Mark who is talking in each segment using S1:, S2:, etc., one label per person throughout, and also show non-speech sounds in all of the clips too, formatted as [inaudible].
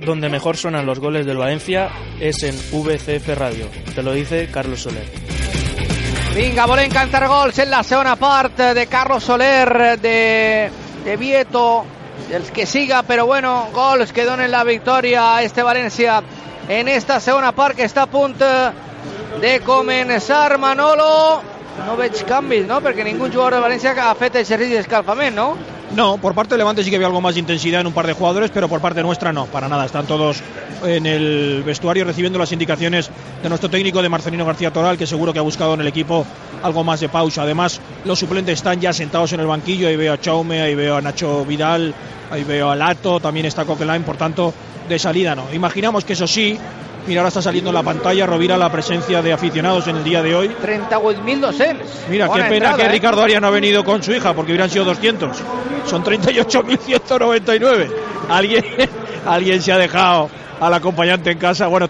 S1: Donde mejor suenan los goles del Valencia es en VCF Radio. Te lo dice Carlos Soler.
S2: Vinga, volem cantar gols en la segona part de Carlos Soler, de, de Vieto, dels que siga, però bueno, gols que donen la victòria a este València en esta segona part que està a punt de començar Manolo. No veig canvis, no? Perquè ningú jugador de València ha fet exercici d'escalfament, no?
S3: No, por parte de Levante sí que había algo más de intensidad en un par de jugadores, pero por parte nuestra no, para nada. Están todos en el vestuario recibiendo las indicaciones de nuestro técnico de Marcelino García Toral, que seguro que ha buscado en el equipo algo más de pausa. Además, los suplentes están ya sentados en el banquillo. Ahí veo a Chaume, ahí veo a Nacho Vidal, ahí veo a Lato, también está Coquelin, por tanto, de salida no. Imaginamos que eso sí, Mira, ahora está saliendo en la pantalla, Rovira, la presencia de aficionados en el día de hoy.
S2: 38.200.
S3: Mira, Buena qué pena entrada, que eh? Ricardo Arias no ha venido con su hija, porque hubieran sido 200. Son 38.199. Alguien, [laughs] alguien se ha dejado al acompañante en casa. Bueno,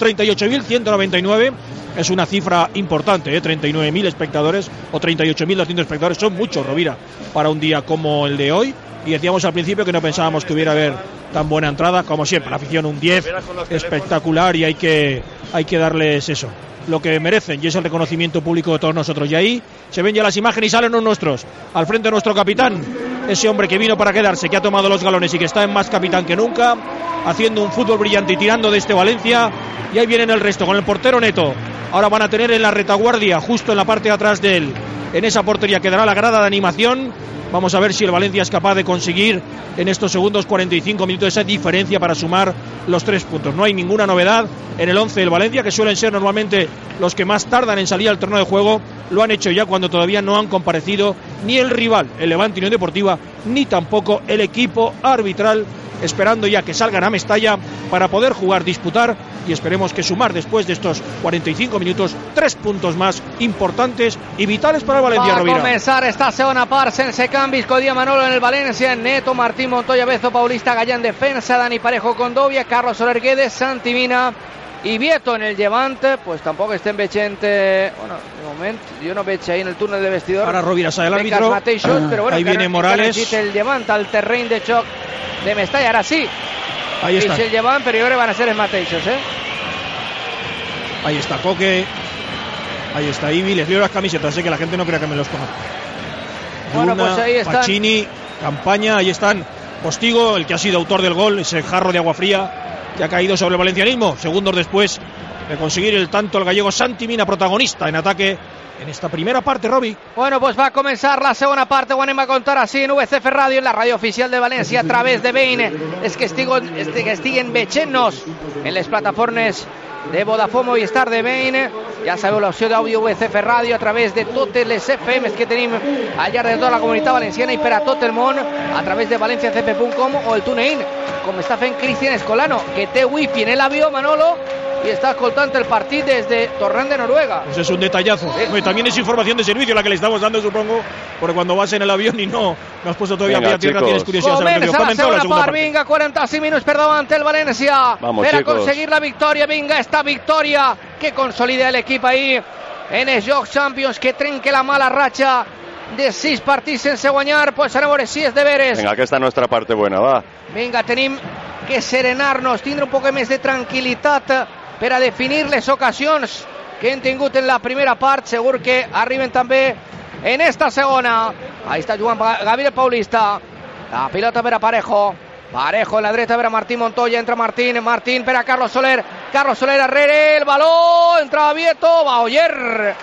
S3: 38.199 es una cifra importante, ¿eh? 39.000 espectadores o 38.200 espectadores. Son muchos, Rovira, para un día como el de hoy y decíamos al principio que no pensábamos que hubiera haber tan buena entrada como siempre la afición un 10 espectacular y hay que hay que darles eso lo que merecen y es el reconocimiento público de todos nosotros y ahí se ven ya las imágenes y salen los nuestros al frente de nuestro capitán ese hombre que vino para quedarse que ha tomado los galones y que está en más capitán que nunca haciendo un fútbol brillante y tirando de este Valencia y ahí vienen el resto con el portero Neto ahora van a tener en la retaguardia justo en la parte de atrás de él en esa portería quedará la grada de animación Vamos a ver si el Valencia es capaz de conseguir en estos segundos 45 minutos esa diferencia para sumar los tres puntos. No hay ninguna novedad en el 11 del Valencia, que suelen ser normalmente los que más tardan en salir al terreno de juego. Lo han hecho ya cuando todavía no han comparecido ni el rival, el Levante Unión Deportiva, ni tampoco el equipo arbitral, esperando ya que salgan a Mestalla para poder jugar, disputar y esperemos que sumar después de estos 45 minutos tres puntos más importantes y vitales para el Valencia.
S2: Va a comenzar esta segunda parte en Secambis, Codía Manolo en el Valencia, Neto, Martín Montoya, Bezo, Paulista, Gallán defensa, Dani Parejo, Condovia, Carlos Soler Guedes, Santimina y Vieto en el Levante, pues tampoco estén vechente, bueno, de momento yo no veche ahí en el túnel de vestidor.
S3: Ahora Rovira sale al árbitro.
S2: Mateixos, pero bueno,
S3: ahí viene
S2: que
S3: Morales.
S2: Que el Levante al terreno de choc de Mestalla, ahora sí.
S3: Ahí está.
S2: el Levante, pero yo creo que van a ser es Mateixos, ¿eh?
S3: Ahí está Coque. Ahí está Ibi, les leo las camisetas, sé que la gente no crea que me los coja.
S2: Bueno, Luna, pues ahí están.
S3: Pacini, Campaña, ahí están. Postigo, el que ha sido autor del gol, ese jarro de agua fría que ha caído sobre el valencianismo. Segundos después de conseguir el tanto el gallego Santi Mina, protagonista en ataque en esta primera parte, Robbie.
S2: Bueno, pues va a comenzar la segunda parte. Guanema a contar así en VCF Radio, en la radio oficial de Valencia, a través de Bain. Es que estiguen, este, que estiguen vechenos en las plataformas de Vodafone y Star de Bain. Ja sabeu, l'opció d'àudio VCF Radio a través de totes les FMs que tenim al llarg de tota la comunitat valenciana i per a tot el món a través de valenciacp.com o el TuneIn, com està fent Cristian Escolano, que té wifi en l'avió, Manolo, y está escoltando el partido desde Torrán de Noruega.
S3: Pues es un detallazo. Sí. También es información de servicio la que le estamos dando, supongo, porque cuando vas en el avión y no, no has puesto todavía
S4: Venga,
S3: tierra, tienes curiosidad.
S2: Comença la
S3: Comenzó
S2: segona
S3: la segunda
S2: part,
S3: parte.
S2: vinga, 46 minuts per davant el València
S4: Vamos,
S2: per
S4: chicos.
S2: aconseguir la victòria, vinga, esta victòria que consolida l'equip ahir en els Jocs Champions, que trenque la mala ratxa de sis partits sense guanyar, pues ara a veure si és de veres.
S4: Venga, que esta es nuestra parte buena, va.
S2: Vinga, tenim que serenar-nos, tindre un poc més de tranquil·litat per a definir les ocasions que hem tingut en la primera part. Segur que arriben també en esta segona. Ahí està jugant Pa- Gabriel Paulista. La pilota per a Parejo. Parejo en la dreta per a Martín Montoya. Entra Martín, Martín per a Carlos Soler. Carlos Soler arrere, el baló. Entra Vieto, va Oyer.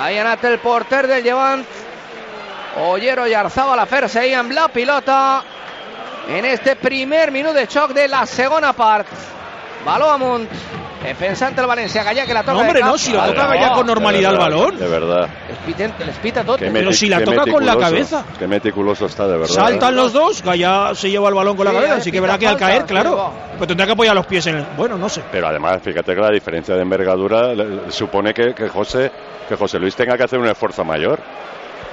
S2: Ahí ha anat el porter del Llevant. Oyer Oyarzaba la fer-se ahí amb la pilota en este primer minuto de choc de la segunda parte. Baló amunt. Defensante el Valencia Gallá que la toca.
S3: No, hombre,
S2: de
S3: no,
S2: cap.
S3: si la
S2: Vale,
S3: toca
S2: no.
S3: Gallá con normalidad el
S4: De verdad,
S3: balón.
S4: De verdad.
S2: Les piten- les pita tot.
S4: Qué
S3: Pero
S4: meti-
S3: si la
S4: qué
S3: toca con la
S4: meticuloso.
S3: cabeza.
S4: Qué meticuloso está, de verdad. ¿eh?
S3: Saltan los dos, Gaya se lleva el balón con la
S2: Sí,
S3: cabeza,
S2: eh,
S3: así que verá
S2: pita
S3: que al
S2: falta,
S3: caer,
S2: pero
S3: claro,
S2: va.
S3: pues tendrá que apoyar los pies en el... Bueno, no sé.
S4: Pero además, fíjate que la diferencia de envergadura le- supone que, que José, que José Luis tenga que hacer un esfuerzo mayor.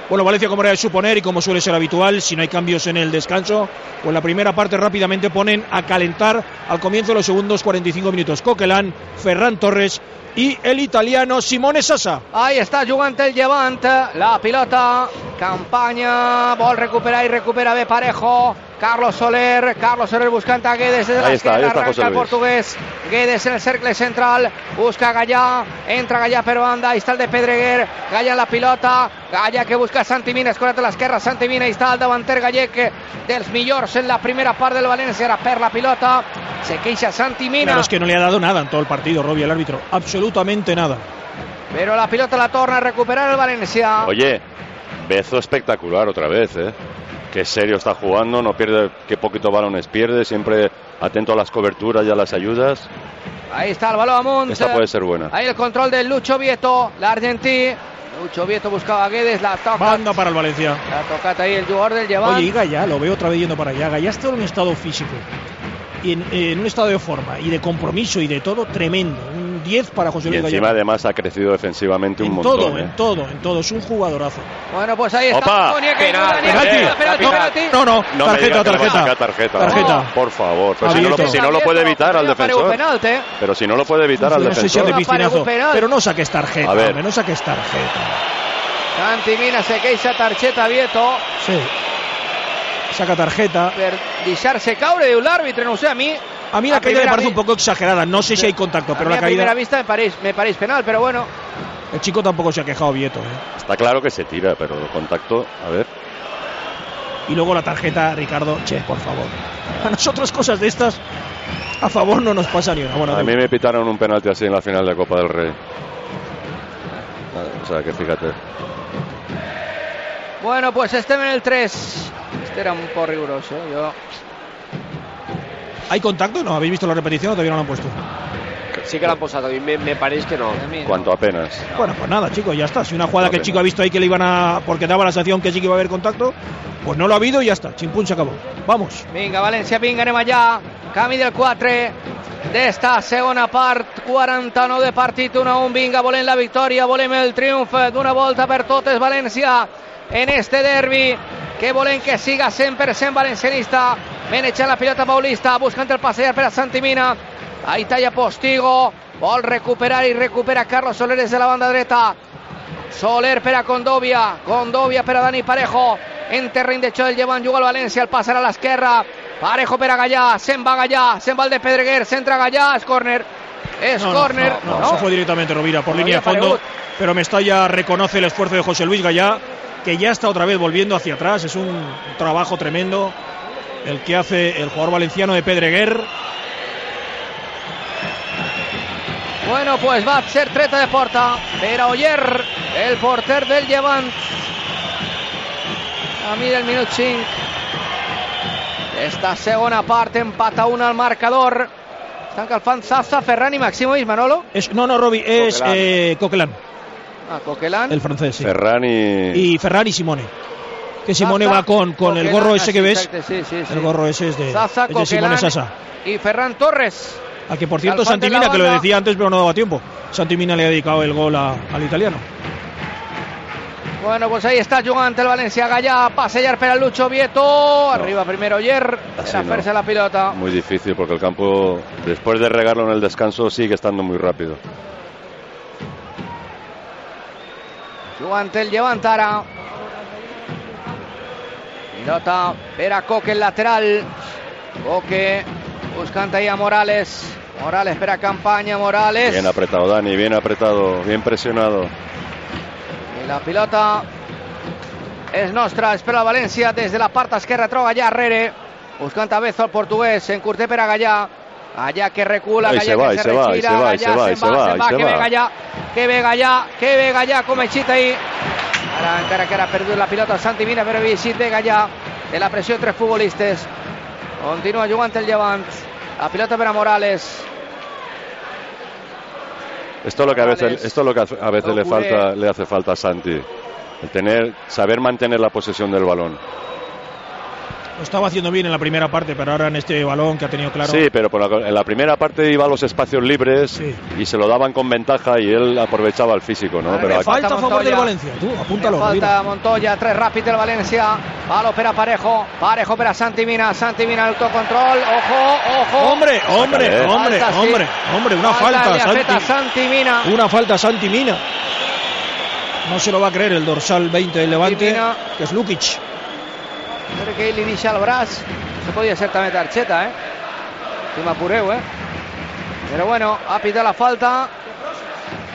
S3: Bueno, Valencia, como era de suponer y como suele ser habitual, si no hay cambios en el descanso, pues la primera parte rápidamente ponen a calentar al comienzo de los segundos 45 minutos. Coquelán, Ferran Torres y el italiano Simone Sassa.
S2: Ahí está jugante el Levante. La pilota. Campaña. Bol recupera y recupera de parejo. Carlos Soler. Carlos Soler buscando a Guedes desde
S4: Ahí
S2: la
S4: está, ahí
S2: izquierda.
S4: está José
S2: Arranca el
S4: Luis.
S2: portugués. Guedes en el cercle central. Busca a Gallá. Entra Gallá per banda. Ahí está el de Pedreguer. Gallá en la pilota. Gallá que busca a Santimina. Escorat a l'esquerra. Santimina. Ahí está el davanter Gallec dels millors en la primera part del València. Era per la pilota. Se queixa Santimina.
S3: Pero es que no le ha dado nada en todo el partido, Robbie, el árbitro. Absolutamente nada.
S2: Pero la pelota la torna a recuperar el Valencia.
S3: Ah.
S4: Oye, Bezo espectacular otra vez, ¿eh? Qué serio está jugando, no pierde, qué poquito balones pierde, siempre atento a las coberturas y a las ayudas.
S2: Ahí está el balón a Monts.
S4: Esta puede ser buena.
S2: Ahí el control de Lucho Vieto, la Argentí. Lucho Vieto buscaba a Guedes, la toca.
S3: Banda para el Valencia.
S2: La tocata ahí el jugador del
S3: Oye, y
S2: Llevant.
S3: Gaya, lo veo otra vez yendo para allá. Gaya está en un estado físico, y en, en un estado de forma y de compromiso y de todo tremendo. Un 10 para José
S4: Y
S3: Luis
S4: encima
S3: Gaya.
S4: además ha crecido defensivamente un
S3: En
S4: montón.
S3: todo,
S4: ¿eh?
S3: en todo, en todo. Es un jugadorazo.
S2: Bueno, pues ahí está.
S4: Opa,
S2: Muñeca y
S5: penal,
S2: Daniel,
S5: penalti,
S2: penalti, penalti,
S3: no,
S5: penalti.
S3: no, no,
S4: No me
S3: tarjeta,
S4: digas que le van a
S3: tarjeta.
S4: sacar tarjeta.
S3: Tarjeta.
S4: Por favor, pues si, no
S3: Abierto.
S4: lo, si no lo puede evitar al
S2: Podría parar un
S4: defensor.
S2: penalti, eh.
S4: Pero si no lo puede evitar al
S3: no sé si es
S4: defensor.
S3: de
S2: Una pared,
S3: piscinazo,
S2: un penal.
S3: pero no saques tarjeta,
S4: A ver.
S3: hombre, no saques tarjeta.
S2: Santi Mina se queixa Tarcheta Vieto.
S3: Sí. Saca tarjeta.
S2: Per deixar-se caure, diu l'àrbitre, no ho sé, a mi...
S3: A mí la caída me
S2: primera
S3: parece
S2: vi-
S3: un poco exagerada. No sé si hay contacto,
S2: a
S3: pero
S2: mí
S3: la
S2: a primera
S3: caída.
S2: vista me pareix, me pareix penal, pero bueno,
S3: El chico tampoco se ha quejado, Vieto. ¿eh?
S4: Está claro que se tira, pero el contacto, a ver.
S3: Y luego la tarjeta, Ricardo. Che, por favor. A nosotros cosas de estas a favor no nos pasa ni una. Bueno,
S4: A
S3: da
S4: mí
S3: igual.
S4: me pitaron un penalti así en la final de Copa del Rey. Ah, O sea que fíjate.
S2: Bueno, pues este en el 3. Este era un poco riguroso. ¿eh? Yo...
S3: ¿hay contacto? No, ¿habéis visto la repetición o todavía no la han puesto?
S5: Sí que la han posado y me, me parece que no.
S2: a mí no.
S4: Cuanto apenas.
S3: Bueno, pues nada, chicos, ya está. Si una jugada
S4: No,
S3: que el
S4: que
S3: chico
S4: no.
S3: ha visto ahí que le iban a. porque daba la sensación que sí que iba a haber contacto, pues no lo ha habido y ya está. Chimpún se acabó. Vamos.
S2: Vinga, València, vinga, anem allà. Camí del 4 d'esta segona part, 49 de partit, 1 a 1, vinga, volem la victòria, volem el triomf d'una volta per totes, València, en este derbi, que volem que siga 100% valencianista, menejant la pilota paulista, buscant el passeig per a Santimina, ahí talla Postigo, vol recuperar i recupera Carlos Soler des de la banda dreta, Soler per a Condovia, Condovia per a Dani Parejo, en terreny de xoll llevan juga el València, el passarà a l'esquerra, Parejo per a Gallà, se'n va Gallà, se'n va el de Pedreguer, centra Gallà, és córner, és
S3: No, no,
S2: córner,
S3: no, no, eso fue directamente Rovira por
S2: No
S3: línea de
S2: había
S3: fondo.
S2: paregut.
S3: Pero Mestalla reconoce el esfuerzo de José Luis Gallá, que ya está otra vez volviendo hacia atrás. Es un trabajo tremendo el que hace el jugador valenciano de Pedreguer.
S2: Bueno, pues va a ser treta de porta per a Oller, el porter del Llevant. A mi del minut 5. Esta segona part empata un al marcador. Estan calfant Zaza, Ferran i Maximovic, Manolo.
S3: Es, no, no, Robi, es
S5: Coquelin.
S3: eh, Coquelin,
S2: Ah, Coquelán.
S3: el francés. sí.
S4: Ferran y.
S3: Y Ferrari Simone. Que Simone
S2: Zaza,
S3: va con, con el
S2: Coquelin,
S3: gorro ese que ves.
S2: exacte, sí, sí, sí.
S3: El gorro ese es de,
S2: Zaza,
S3: es de Simone
S2: Coquelin
S3: Sasa.
S2: Y Ferran Torres.
S3: A que por cierto
S2: Alfante
S3: Santimina,
S2: la
S3: que lo
S2: banda.
S3: decía antes pero no daba tiempo. Santimina le ha dedicado el gol a- al italiano.
S2: Bueno, pues ahí está jugante el Valencia Gallá. Pasellar para Lucho Vieto. Arriba primero Oller.
S4: Así
S2: Era
S4: no.
S2: Ferse la pilota.
S4: Muy difícil porque el campo, después de regarlo en el descanso, sigue estando muy rápido.
S2: Jugante el Levantara. Pilota Vera Coque el lateral. Coque buscando ahí a Morales. Morales para campaña, Morales.
S4: Bien apretado, Dani, bien apretado, bien presionado.
S2: I la pilota és nostra, és per la València, des de la part esquerra troba allà Herrere, buscant a Bezo el portuguès, s'encurté per a Gallà, Gallà que recula,
S4: Ahí
S2: Gallà
S4: se
S2: que
S4: va, ahí
S2: se
S4: se va, ahí
S2: retira,
S4: se va, ahí
S2: Gallà
S4: se va,
S2: se'n
S4: ahí se va,
S2: se'n
S4: ahí se
S2: que ve
S4: va.
S2: Gallà, que ve Gallà, que ve Gallà, com aixita ahir. Ara encara que era perdut la pilota el Santi Mina, però visita de Gallà, de la pressió tres futbolistes. Continua jugant el Llevant, la pilota per a Morales,
S4: Esto es lo que a veces, esto es lo que a veces le,
S2: Procure.
S4: falta, le hace falta a Santi. El tener, saber mantener la posesión del balón.
S3: Lo estaba haciendo bien en la primera parte, pero ahora en este balón que ha tenido claro.
S4: Sí, pero por la- en la primera parte iba a los espacios libres
S3: Sí.
S4: y se lo daban con ventaja y él aprovechaba el físico, ¿no?
S2: Ahora
S4: Pero
S2: me
S4: aquí-
S3: Falta a favor del
S2: Montoya.
S3: Valencia. Tú, apúntalo.
S2: Falta
S3: Rovira.
S2: Montoya, tres rápido el Valencia. Palo para Parejo. Parejo para Santimina. Santimina autocontrol. Ojo, ojo.
S3: Hombre, hombre,
S4: Falta,
S3: hombre,
S2: Falta, sí.
S3: hombre, hombre, una falta,
S2: de Afeta
S3: Santi.
S2: Santimina.
S3: Una falta Santi Mina. No se lo va a creer el dorsal 20 del Levante,
S2: Mina.
S3: que es Lukic. Uh.
S2: Crec que ell li deixa el braç. No podia ser també targeta, eh? Si m'apureu, eh? Però bueno, ha pitat la falta.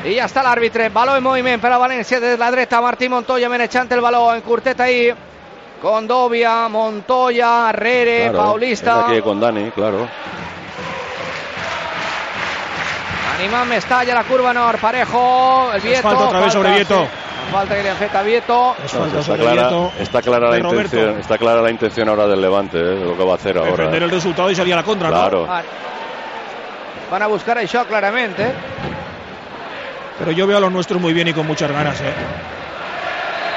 S2: I ja està l'àrbitre. Baló en moviment per a València des de la dreta. Martí Montoya menejant el baló en curtet ahí. Condovia, Montoya, Herrere,
S4: claro,
S2: Paulista.
S4: es Aquí con Dani, claro.
S2: Animant Mestalla, la curva nord, Parejo, el Vieto.
S3: falta otra vez sobre Vieto.
S2: sí. Falta que li han fet a Vieto.
S3: Es
S4: No,
S3: falta
S4: está,
S3: sobre
S4: clara,
S3: Vieto
S4: está clara la
S3: de Roberto.
S4: intención, está clara la intención ahora del Levante, ¿eh? de lo que va a hacer ahora.
S3: Defender
S4: ¿eh?
S3: el resultado y salir a la contra, ¿no?
S4: Claro.
S2: Ah, Van a buscar això clarament, eh?
S3: Pero yo veo a los nuestros muy bien y con muchas ganas, ¿eh?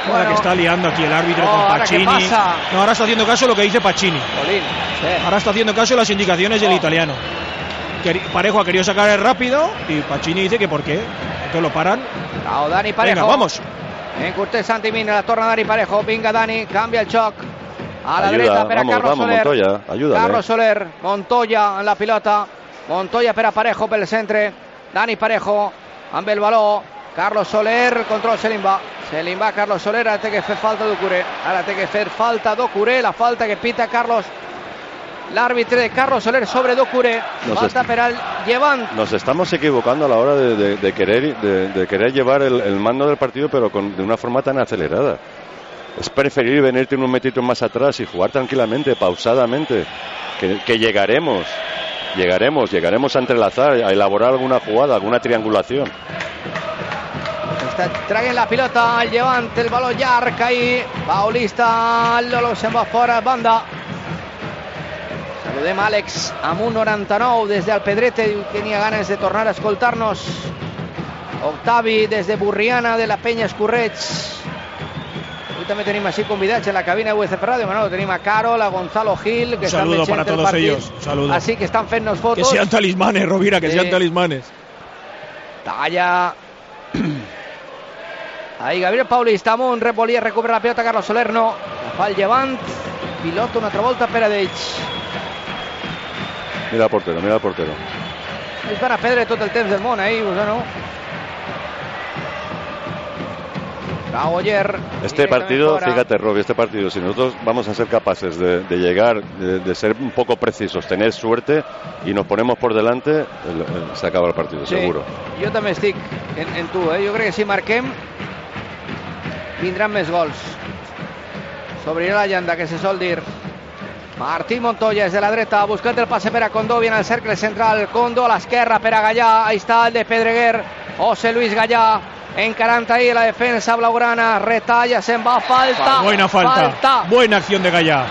S3: Ahora
S2: Bueno.
S3: que está liando aquí el árbitro
S2: No,
S3: con
S2: ahora, ¿qué
S3: Pacini.
S2: pasa?
S3: No, ahora está haciendo caso a lo que dice Pacini.
S2: Colín. Eh.
S3: Ahora está haciendo caso a las indicaciones del
S2: No.
S3: italiano. Queri- Parejo ha querido sacar el rápido y Pacini dice que por qué. Entonces lo paran.
S2: Cao, Dani Parejo.
S3: Venga, vamos.
S2: En Cortés Santimina, la torna Dani Parejo. Vinga, Dani, canvia el xoc. A la
S4: Ayuda,
S2: dreta per a
S4: vamos,
S2: Carlos
S4: vamos,
S2: Soler.
S4: Montoya, ayúdale.
S2: Carlos Soler, Montoya en la pilota. Montoya per a Parejo pel centre. Dani Parejo amb el baló. Carlos Soler, control Selimba. Selimba, Carlos Soler, ara té que fer falta d'Ocuré. Ara té que fer falta d'Ocuré, la falta que pita Carlos. L'àrbitre de Carlos Soler sobre d'Ocuré.
S4: No sé.
S2: falta per al llevant.
S4: Nos estamos equivocando a la hora de, de- de querer, de, de querer llevar el, el mando del partido, pero con- de una forma tan acelerada. Es preferible venirte unos metitos más atrás y jugar tranquilamente, pausadamente, que, que llegaremos, llegaremos, llegaremos a entrelazar, a elaborar alguna jugada, alguna triangulación.
S2: Está, traguen la pilota al llevante, el balón llarg ahí. Paulista, Lolo se'n va fora, banda. Saludem Àlex amb un 99 des del Pedrete, diu que tenia ganes de tornar a escoltar-nos. Octavi des de Burriana, de la penya Escorreig. Avui també tenim així convidats a la cabina de USF Ràdio, Manolo. Tenim a Carol, a Gonzalo Gil, que
S3: Un
S2: estan
S3: saludo
S2: veient
S3: para
S2: el
S3: todos
S2: partit.
S3: ellos, un saludo.
S2: Així que estan fent-nos
S3: Que
S2: fotos.
S3: sean talismanes, Rovira, que
S2: Sí.
S3: sean talismanes.
S2: Talla. [clears throat] Ahí Gabriel Paulista, Mont, Repolia, recupera la pelota Carlos Solerno. La fa el llevant, pilota una altra volta Peradeix.
S4: Mira al portero, mira al portero.
S2: Ells van a perdre tot el temps del món ahir, eh, no? Bravo, Oller.
S4: Este
S2: Directament
S4: partido,
S2: fora.
S4: fíjate, Robbie, este partido, si nosotros vamos a ser capaces de, de llegar, de, de ser un poco precisos, tener suerte y nos ponemos por delante, el- el- se acaba el partido,
S2: Sí,
S4: seguro.
S2: Jo també estic en, en tu, eh? Jo crec que si marquem vindran més gols. S'obrirà la llanda, que se sol dir. Martí Montoya des de la dreta, buscant el passe per a Condó, viene al cercle central, Condó a l'esquerra per a Gallà, ahí està el de Pedreguer, José Luis Gallà, encarant ahí la defensa blaugrana, retalla, se'n va, falta,
S3: Buena falta. Buena acción de Gallá.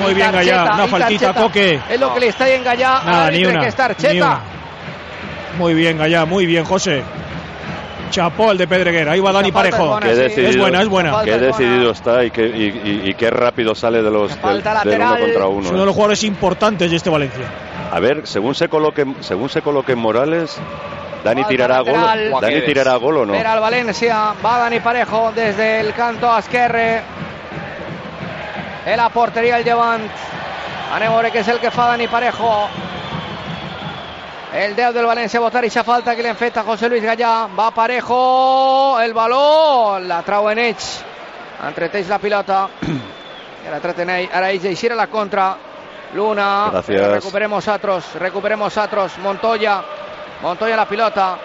S3: Muy
S2: Ah, Y
S3: bien, Gallá.
S2: tarjeta,
S3: Una
S2: y
S3: faltita,
S2: tarjeta.
S3: Coque.
S2: Es lo que le está ahí en Gallà,
S3: Nada,
S2: árbitro,
S3: ni una,
S2: que es
S3: ni
S2: tarjeta.
S3: una. Muy bien, Gallá. Muy bien, José. Chapó el de Pedreguer. Ahí va Dani
S2: falta es
S3: Parejo.
S2: buena,
S4: Qué
S2: sí.
S4: decidido.
S3: Es buena, es buena.
S2: Falta
S4: Qué
S2: es buena.
S4: decidido está y qué, y, y- y qué rápido sale de los, del,
S2: Falta
S4: del uno
S2: lateral.
S4: contra
S3: Es uno de
S4: uno. ¿eh?
S3: los jugadores importantes de este Valencia.
S4: A ver, según se coloque, según se coloque Morales, Dani
S2: Falta
S4: tirará a gol,
S2: lateral.
S4: Dani tirará a gol o no.
S2: Espera el Valencia, va Dani Parejo desde el canto a Esquerre. En la porteria el llevant. Anem a veure què és el que fa Dani Parejo. El 10 del València votar i falta que li han fet a José Luis Gallà. Va Parejo, el baló, la trau en eix. Entreteix la pilota. I ara treten ell, ara ells eixir a la contra. Luna,
S4: Gràcies.
S2: però recuperemos atros, recuperemos atros. Montoya, Montoya la pilota.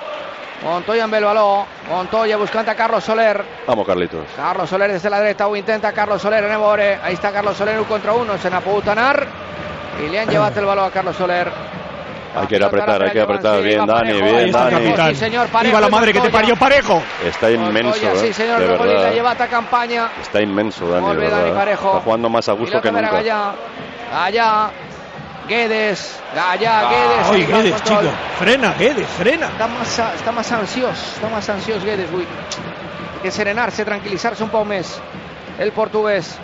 S2: Montoya amb el baló, Montoya buscant a Carlos Soler.
S4: Vamos, Carlitos.
S2: Carlos Soler desde la derecha, ho intenta Carlos Soler, anem a veure. ahí está Carlos Soler, un contra uno, se n'ha pogut anar, i li han llevat el baló a Carlos Soler.
S4: Hay que ir a apretar, hay que apretar.
S2: Sí,
S4: Bien,
S2: va
S4: Dani,
S2: Parejo.
S3: Ahí
S4: bien,
S3: está el
S4: Dani.
S3: capitán.
S2: Sí, señor, Parejo
S3: Viva la
S2: y
S3: madre que te
S2: Montoya.
S3: parió, Parejo.
S4: Está inmenso,
S2: Montoya,
S4: ¿eh?
S2: sí senyor,
S4: de
S2: Rogoli l'ha
S4: verdad.
S2: llevat a campanya.
S4: Está inmenso, Dani,
S2: Molt
S4: de
S2: bé, Dani
S4: verdad. ¿eh?
S2: Parejo.
S4: Está jugando más a
S2: Pilota
S4: gusto que
S2: per a
S4: nunca.
S2: Gallà. Gallà. Guedes. Gallà,
S4: Ah,
S2: Guedes.
S3: Ay,
S2: que fa el
S3: Guedes,
S2: control.
S3: chico. Frena, Guedes, frena.
S2: Està massa, està massa ansiós, està massa ansiós Guedes avui. Hay que serenar-se, tranquil·litzar-se un poc més el portuguès.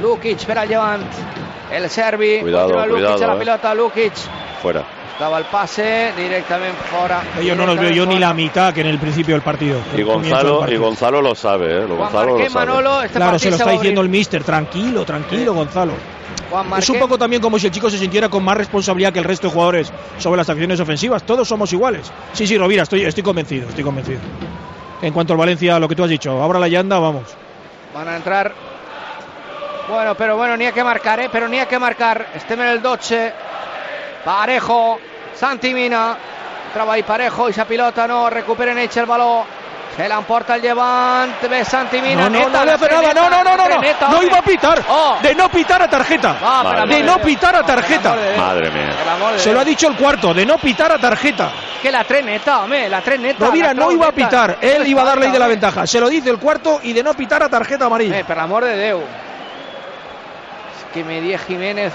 S2: Lukic per al Levant. El serbi.
S4: Cuidado,
S2: Continua Lukic
S4: cuidado,
S2: a la
S4: eh.
S2: pilota. Lukic.
S4: Fuera.
S2: Daba el pase directament fora.
S3: Yo no los veo yo ni la mitad que en el principio del partido.
S4: Y
S3: El comienzo del
S4: Gonzalo, y
S3: partido.
S4: Gonzalo lo sabe, ¿eh? Lo
S2: Juan
S4: Gonzalo lo
S2: Marqués,
S4: sabe.
S2: Manolo, este
S3: Claro,
S2: partido
S3: se lo
S2: va
S3: está
S2: a
S3: diciendo el
S2: abrir.
S3: mister. Tranquilo, tranquilo, Gonzalo.
S2: Juan Marqués.
S3: Es un poco también como si el chico se sintiera con más responsabilidad que el resto de jugadores sobre las acciones ofensivas. Todos somos iguales. Sí, sí, Rovira, estoy, estoy convencido, estoy convencido. En cuanto al Valencia, lo que tú has dicho, ahora la llanda, vamos.
S2: Van a entrar. Bueno, pero bueno, ni hay que marcar, ¿eh? Pero ni hay que marcar. Este en el Doche. Parejo. Santimina. Traba ahí Parejo y esa pilota no. Recuperen Eche el balón. Se la emporta el Levante. Ve Santimina.
S3: No, no,
S2: Neta,
S3: no le hace nada,
S2: Neta,
S3: no, no, no, no,
S2: Neta,
S3: no, no
S2: hombre.
S3: iba a pitar,
S2: Oh.
S3: de no pitar a tarjeta,
S2: Va, por amor
S4: De
S2: Dios.
S3: no pitar a
S2: Por amor
S3: tarjeta.
S2: de Dios.
S4: Madre mía.
S2: Por amor de
S3: se lo ha
S2: Dios.
S3: dicho el cuarto, de no pitar a tarjeta.
S2: Que la tres neta, hombre, la tres neta.
S3: Rovira
S2: la
S3: no
S2: tres
S3: iba a
S2: neta.
S3: pitar, él
S2: No
S3: iba a dar ley de la
S2: hombre.
S3: ventaja, se lo dice el cuarto y de no pitar a tarjeta
S2: Eh,
S3: amarilla.
S2: per l'amor de Déu. És que me die
S3: [clears throat]
S2: Jiménez.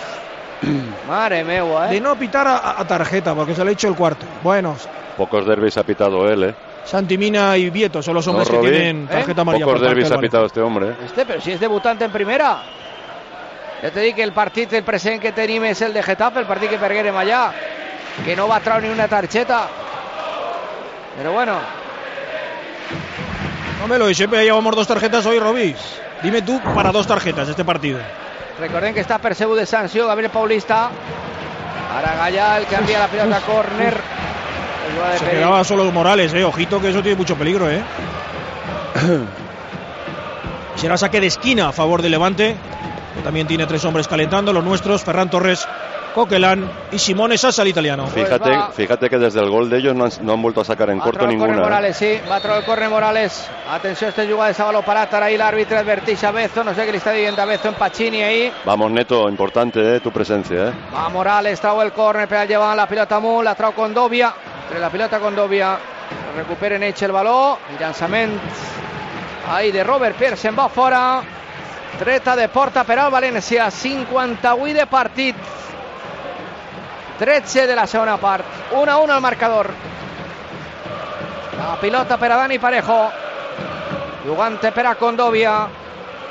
S2: Mare meua,
S3: De
S2: eh?
S3: no pitar a, a tarjeta, porque se lo ha dicho el cuarto. Bueno,
S4: Pocos derbis ha pitado él, ¿eh?
S3: Santimina y Vieto son los
S4: No,
S3: hombres que
S4: Robin.
S3: tienen tarjeta amarilla.
S4: Pocos
S3: por parte
S4: derbis
S3: del
S4: ha
S3: Valencia.
S4: pitado este hombre, ¿eh?
S2: Este, però si és debutant en primera. Ja te dic que el partit, el present que tenim és el de Getafe, el partit que perguérem allà, que no va traure ni una targeta. Però bueno,
S3: No me lo dice, siempre llevamos dos tarjetas hoy, Robis. Dime tú para dos tarjetas este partido.
S2: recordem que està percebut de sanció Gabriel Paulista. Ara Gallà, el que envia la pilota a córner. El va de
S3: Se
S2: Peris.
S3: quedaba solo Morales, eh. Ojito que eso tiene mucho peligro,
S4: [coughs]
S3: eh. Será saque de esquina a favor de Levante. Que también tiene tres hombres calentando, los nuestros, Ferran Torres, Coquelán y Simone Sassa, el italiano.
S2: Pues
S4: Fíjate,
S2: va.
S4: fíjate que desde el gol de ellos no han, no han vuelto a sacar en
S2: Va a
S4: corto
S2: trobar el córner
S4: ninguna. ¿eh?
S2: Morales, sí, va a trobar el córner Morales. Atención, este jugada de Sábalo para ahí el árbitro advertís a Bezo, no sé qué le está diciendo a Bezo en Pacini ahí.
S4: Vamos, Neto, importante ¿eh? tu presencia. ¿eh?
S2: Va Morales, trao el córner, pero llevan la pelota a Mu, la trao con Dobia, pero la pelota con Dobia. Recuperen Eche el balón, el llançament ahí de Robert Pearson va fora. Treta de porta per al València, 58 de partit. 13 de la segona part, 1 a 1 al marcador. La pilota per a Dani Parejo. Jugante per a Condovia.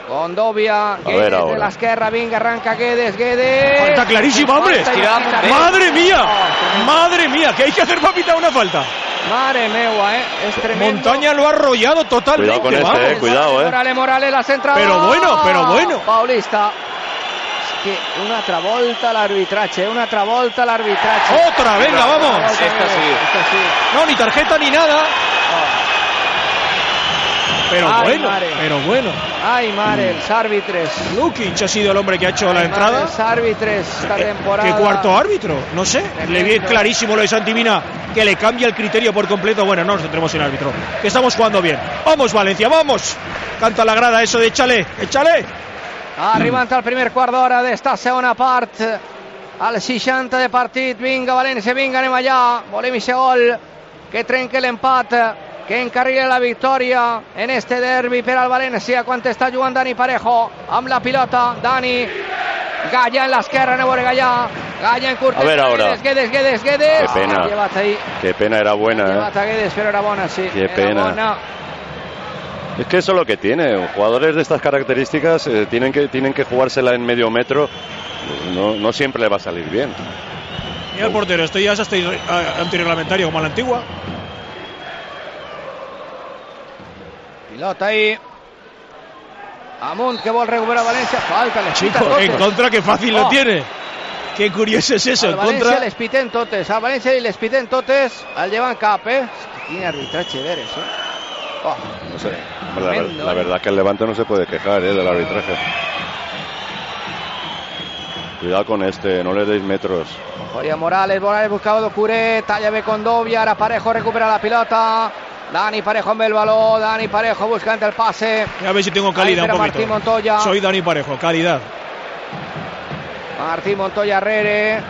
S2: Condovia, Guedes de
S4: ahora.
S2: la esquerra, vinga, arranca Guedes, Guedes.
S3: Falta clarísima, hombre.
S2: Falta y la quita Guedes.
S3: Madre mía,
S2: Oh,
S3: madre mía, que hay que hacer para pitar una falta.
S2: Madre meua, eh. Es tremendo.
S3: Montaña eh. lo ha arrollado totalmente.
S4: Cuidado con este,
S3: vamos.
S4: eh, cuidado, eh.
S2: Morales, Morales, la centrada.
S3: Pero bueno, pero bueno.
S2: Paulista. Es que una travolta al arbitraje, una travolta al arbitraje.
S3: Otra, Oh, venga, vamos.
S5: Esta sí.
S3: No, ni tarjeta ni nada.
S2: Oh.
S3: Pero
S2: Ay,
S3: bueno,
S2: madre.
S3: pero bueno.
S2: Ay, madre, los árbitros.
S3: Lukic ha sido el hombre que ha hecho Mm. la entrada.
S2: Los árbitros esta
S3: Eh,
S2: temporada.
S3: ¿Qué cuarto árbitro? No sé. Le vi
S2: Tremendo.
S3: clarísimo lo de Santimina, que le cambia el criterio por completo. Bueno, no nos centremos en árbitro, que estamos jugando bien. Vamos, Valencia, vamos. Canta la grada eso de échale, échale.
S2: Arribant al primer quart d'hora d'esta segona part. Al 60 de partit, vinga València, vinga, anem allà. Volem ixe gol que trenque l'empat, que encarrile la victòria en este derbi per al València quan està jugant Dani Parejo amb la pilota. Dani Galla en l'esquerra, anem a veure Galla. Galla en curta.
S4: A veure ara.
S2: Guedes, Guedes, Guedes, Guedes.
S4: Qué pena.
S2: Ha Llevat ahí.
S4: Qué pena, era
S2: Ha
S4: buena.
S2: Llevat
S4: ¿eh?
S2: a Guedes, però era bona, sí.
S4: Qué
S2: era
S4: pena.
S2: Bona.
S4: Es que eso es lo que tiene. Jugadores de estas características eh, tienen, que, tienen que jugársela en medio metro. No, no siempre le va a salir bien.
S3: Y el portero, esto ya es hasta irre- a- antirreglamentario como a la antigua.
S2: Pilota ahí. Amunt que vol recuperar València. Falta, les pita
S3: Chico, en
S2: totes.
S3: contra, qué fácil
S2: Oh.
S3: lo tiene. Qué curioso es eso,
S2: Al
S3: en
S2: València
S3: contra.
S2: les piten totes. Al València i les piten totes. El llevan cap, eh? És que Quin arbitratge d'eres, eh? Oh,
S4: No sé. La, ver- la
S2: ¿eh?
S4: verdad que el Levante no se puede quejar ¿eh? del arbitraje. Cuidado con este, no le deis metros.
S2: Jorge Morales, Morales buscado Docure, talla B con Dobia, ahora Parejo recupera la pelota. Dani Parejo en el balón, Dani Parejo busca ante el pase.
S3: A ver si tengo
S2: Ahí,
S3: calidad
S2: pero
S3: un
S2: Martín
S3: poquito.
S2: Montoya.
S3: Soy Dani Parejo, calidad.
S2: Martín Montoya Herrere,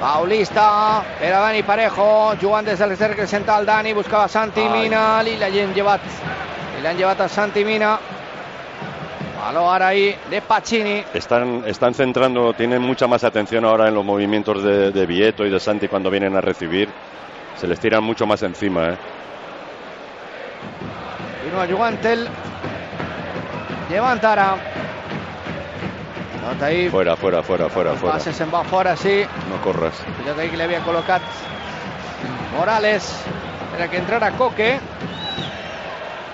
S2: Paulista, era Dani Parejo, jugant des del cercle central, Dani buscava Santi
S5: Ai.
S2: Mina, i l'han llevat, i l'han llevat a Santi Mina. Baló ara ahí de Pacini,
S4: Están, están centrando, tienen mucha más atención ahora en los movimientos de, de Vieto y de Santi cuando vienen a recibir. Se les tiran mucho más encima. ¿eh?
S2: continua jugant el Levant ara. Nota ahí.
S4: Fuera, fuera, fuera, fuera, fuera.
S2: Pase se'n va fora, sí.
S4: No corras.
S2: Fíjate ahí que le había colocado Morales. Era que entrara Coque.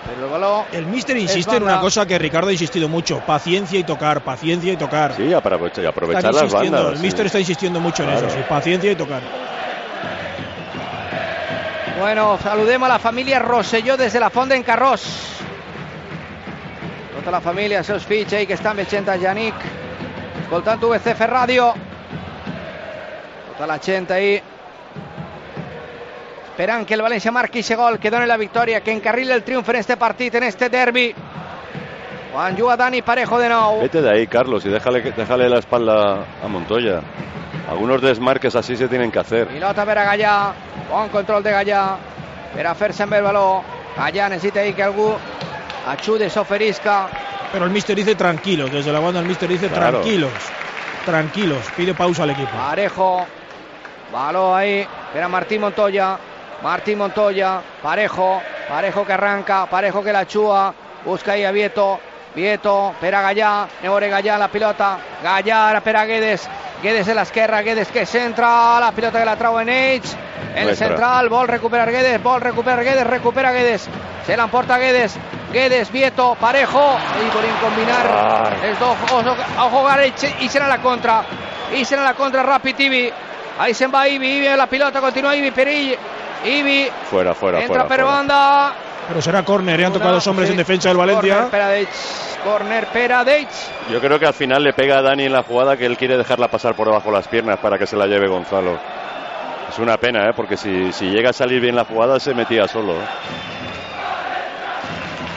S2: Pero el balón.
S3: El míster
S2: Es
S3: insiste en una
S2: banda.
S3: cosa que Ricardo ha insistido mucho: paciencia y tocar, paciencia y tocar.
S4: Sí, apro- aprovechar,
S3: Están
S4: las
S3: insistiendo,
S4: bandas.
S3: el
S4: sí.
S3: míster está insistiendo mucho en
S4: Claro.
S3: eso, sí, paciencia y tocar.
S2: Bueno, saludemos a la familia Rosselló desde la Fonda en Carròs. Tota la família, els seus fills, ell que estan veient a Janic, escoltant VCF Ràdio. Tota la gent ahí esperant que el València marqui ese gol, que doni la victòria, que encarrile el triomf en este partit, en este derbi. Quan juga Dani Parejo de nou.
S4: Vete de ahí, Carlos, y déjale, que- déjale la espalda a Montoya. Algunos desmarques así se tienen que hacer.
S2: Pilota per a Gallà, bon control de Gallà, per a fer-se amb el baló. Gallà necessita ahí que algú ajudi, s'oferisca.
S3: Pero el míster dice tranquilos, desde la banda el míster dice
S4: Claro.
S3: tranquilos, tranquilos, pide pausa al equipo.
S2: Ah. Parejo. Balón ahí. Espera Martín Montoya. Martín Montoya. Parejo. Parejo que arranca. Parejo que la chúa. Busca ahí a Vieto. Vieto. Espera Gallá. Neore Gallá la pelota. Gallá. Ahora espera Guedes. Guedes en la izquierda. Guedes que centra. La pelota que la traba en Edge. En el
S4: Nuestra.
S2: central. Bol recupera Guedes. Bol recupera Guedes. Recupera Guedes. Se la emporta Guedes. Guedes, Vieto, Parejo. Y por incombinar.
S4: Ay.
S2: Es dos, ojo, ojo Garech, y será la contra. Y será la contra Rapid Ibi. Ahí se va Ibi, Ibi la pelota, continúa Ibi, Peril. Ibi
S4: Fuera, fuera,
S2: entra
S4: fuera.
S2: per
S4: fuera.
S2: banda.
S3: Pero será córner, le han tocado
S2: Una,
S3: los hombres
S2: sí.
S3: en defensa del Valencia.
S2: Corner Peradech, corner Peradech.
S4: Yo creo que al final le pega a Dani en la jugada que él quiere dejarla pasar por debajo de las piernas para que se la lleve Gonzalo. Es una pena, ¿eh? porque si, si llega a salir bien la jugada se metía solo. ¿eh?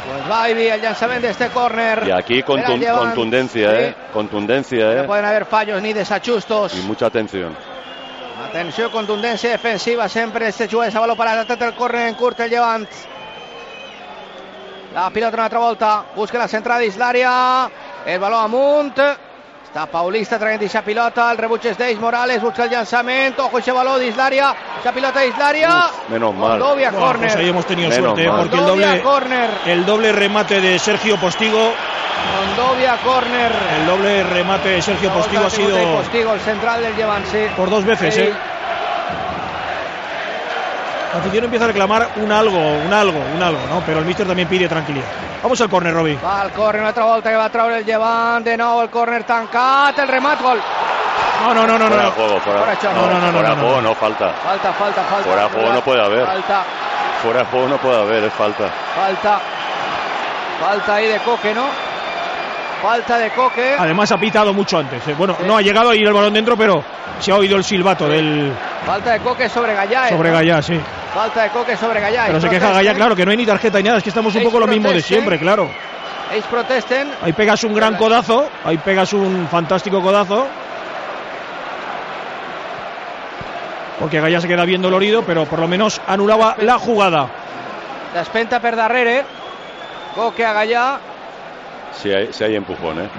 S2: Pues va Ibi al lanzamiento de este corner.
S4: Y
S2: Se
S4: aquí
S2: la
S4: contun-
S2: llevan.
S4: contundencia,
S2: Sí.
S4: ¿eh? contundencia
S2: No
S4: ¿eh?
S2: pueden haber fallos ni desachustos.
S4: y mucha atención.
S2: Atenció, contundencia defensiva sempre este jugador se baló para tanto el córner en curta el llevant. La pilota una altra volta, busca la centrada d'Islària, el baló amunt, està Paulista traient aquesta pilota, el rebuig és d'Eix Morales, busca el llançament, ojo ese baló d'Islària, aquesta pilota d'Islària,
S4: Uf, menos mal.
S2: Moldovia,
S3: Buah,
S2: córner,
S3: pues ahí hemos tenido
S4: Menos
S3: suerte, ¿eh?
S4: mal.
S3: porque el
S2: Moldovia,
S3: doble,
S2: córner,
S3: el doble remate de Sergio Postigo,
S2: Moldovia, córner.
S3: el doble remate de Sergio
S2: La volta
S3: Postigo ha sido
S2: tingut ell, Postigo, el central del llevant, sí.
S3: por dos veces.
S2: Sí.
S3: ¿eh? La afición empieza a reclamar un algo, un algo, un algo, ¿no? Pero el míster también pide tranquilidad. Vamos al córner, Robbie.
S2: Va al córner, una altra volta que va a traure el llevant, de nou el córner tancat, el remat, gol.
S3: No, no, no, no,
S4: Fuera de
S3: no.
S4: juego,
S2: Fuera
S4: fuera.
S2: de juego. No,
S3: no, no, no,
S4: Fuera de
S3: no,
S4: juego,
S3: no.
S4: no falta.
S2: Falta, falta, falta.
S4: Fuera de juego no puede haber.
S2: Falta,
S4: Fuera de juego no puede haber, es falta.
S2: falta. Falta ahí de Coque, ¿no? Falta de Coque.
S3: Además ha pitado mucho antes. ¿eh? Bueno,
S2: Sí.
S3: no ha llegado a ir el balón dentro, pero se ha oído el silbato del
S2: Falta de Coque sobre Gallá.
S3: sobre Gallá, sí.
S2: Falta de Coque sobre Gallá.
S3: Pero
S2: Ells
S3: se queja
S2: protesten,
S3: Gallá, claro, que no hay ni tarjeta ni nada, es que estamos un
S2: Ells
S3: poco lo mismo de
S2: protestan.
S3: siempre, claro.
S2: Ells protesten.
S3: Ahí pegas un gran codazo, ahí pegas un fantástico codazo. Porque Gallá se queda bien dolorido, pero por lo menos anulaba la jugada.
S2: Despenta per darrere. Coque a Gallá.
S4: Si hay, si hay empujón, ¿eh?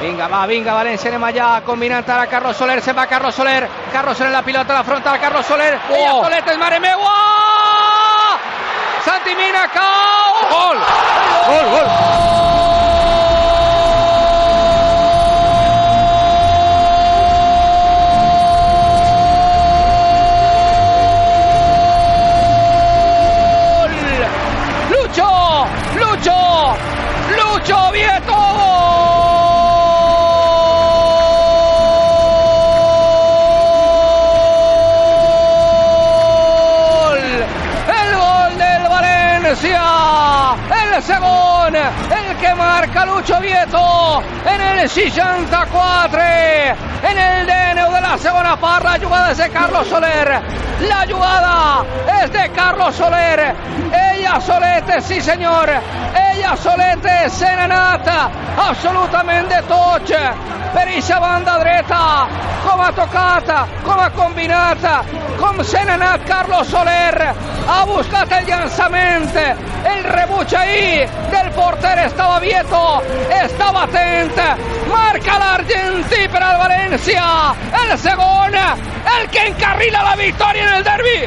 S2: Vinga, va, vinga, València, anem allà, combinant ara Carlos Soler, se'n va Carlos Soler, Carlos Soler, la pilota, la frontal, Carlos Soler, oh. ella Solet, és mare meua! Santi Mina, cau! Gol! Gol, gol! Lucho, Lucho, Lucho Vieto, gol, el gol del Valencia, el segón, el que marca Lucho Vieto en el 64, en el DNU de la segunda part, la jugada es de Carlos Soler, la jugada es de Carlos Soler, ella Solete, sí senyor, ella Solete se n'ha anat absolutament de touch per eixa banda dreta, com ha tocat, com ha combinat, com se n'ha anat Carlos Soler, ha buscat el llançament, el rebuig ahir del porter estava Vieto, estava atent, marca l'argentí per al València, el segon, el que encarrila la victòria en el derbi.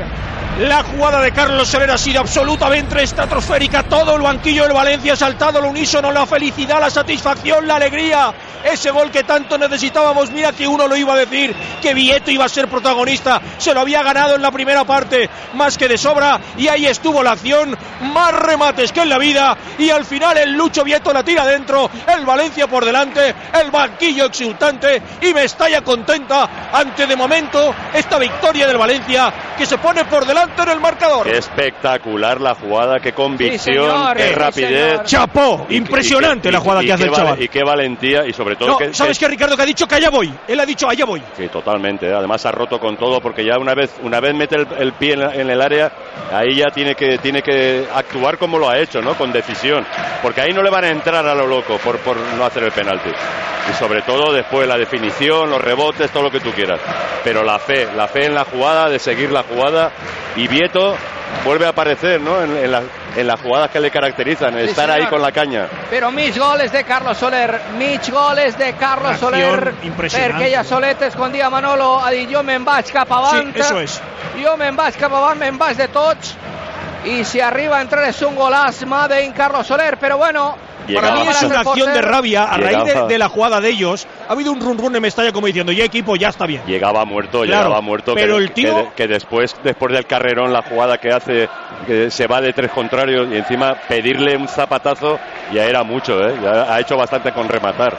S3: La jugada de Carlos Soler ha sido absolutamente estratosférica. Todo el banquillo del Valencia ha saltado al unísono. La felicidad, la satisfacción, la alegría. Ese gol que tanto necesitábamos. Mira que uno lo iba a decir. Que Vieto iba a ser protagonista. Se lo había ganado en la primera parte. Más que de sobra. Y ahí estuvo la acción. Más remates que en la vida. Y al final el Lucho Vieto la tira dentro. El Valencia por delante. El banquillo exultante. Y Mestalla contenta ante de momento esta victoria del Valencia. Que se pone por delante en el marcador.
S4: Qué espectacular la jugada, qué convicción,
S2: señor,
S4: qué
S2: sí,
S4: rapidez.
S2: señor.
S3: Chapó,
S4: Y- y-
S3: impresionante
S4: y-
S3: la jugada
S4: y- y
S3: que hace
S4: qué
S3: el
S4: vale-
S3: chaval.
S4: Y qué valentía, y sobre todo
S3: No,
S4: que,
S3: ¿sabes qué, Ricardo? Que ha dicho que allá voy. Él ha dicho allá voy.
S4: Sí, totalmente. ¿eh? Además ha roto con todo porque ya una vez una vez mete el, el pie en, la- en el área, ahí ya tiene que tiene que actuar como lo ha hecho, ¿no? Con decisión, porque ahí no le van a entrar a lo loco por por no hacer el penalti. Y sobre todo después la definición, los rebotes, todo lo que tú quieras. Pero la fe, la fe en la jugada, de seguir la jugada y Vieto vuelve a aparecer, ¿no? En, en las- en las jugadas que le caracterizan, estar ahí
S2: señor.
S4: con la caña.
S2: Pero mis goles de Carlos Soler, mis goles de Carlos
S3: Una acción
S2: Soler.
S3: impresionante.
S2: Perquè ella Solet escondia Manolo, ha dit jo me'n vaig cap avant.
S3: Sí, eso es.
S2: Jo me'n vaig cap avant, me'n vaig de tots. I si arriba a entrar és un golàs, Made en Carlos Soler, però bueno...
S3: Para
S4: Llegaba.
S3: mí es
S2: el
S3: una acción
S2: porter.
S3: de rabia a raíz de,
S4: Llegaba.
S3: de la jugada de ellos. Ha habido un run run en Mestalla como diciendo, ya equipo, ya está bien.
S4: Llegaba muerto,
S3: Claro,
S4: llegaba muerto.
S3: pero
S4: que,
S3: el tío-
S4: que de- que después, después del carrerón, la jugada que hace, que se va de tres contrarios y encima pedirle un zapatazo ya era mucho, ¿eh? Ya ha hecho bastante con rematar.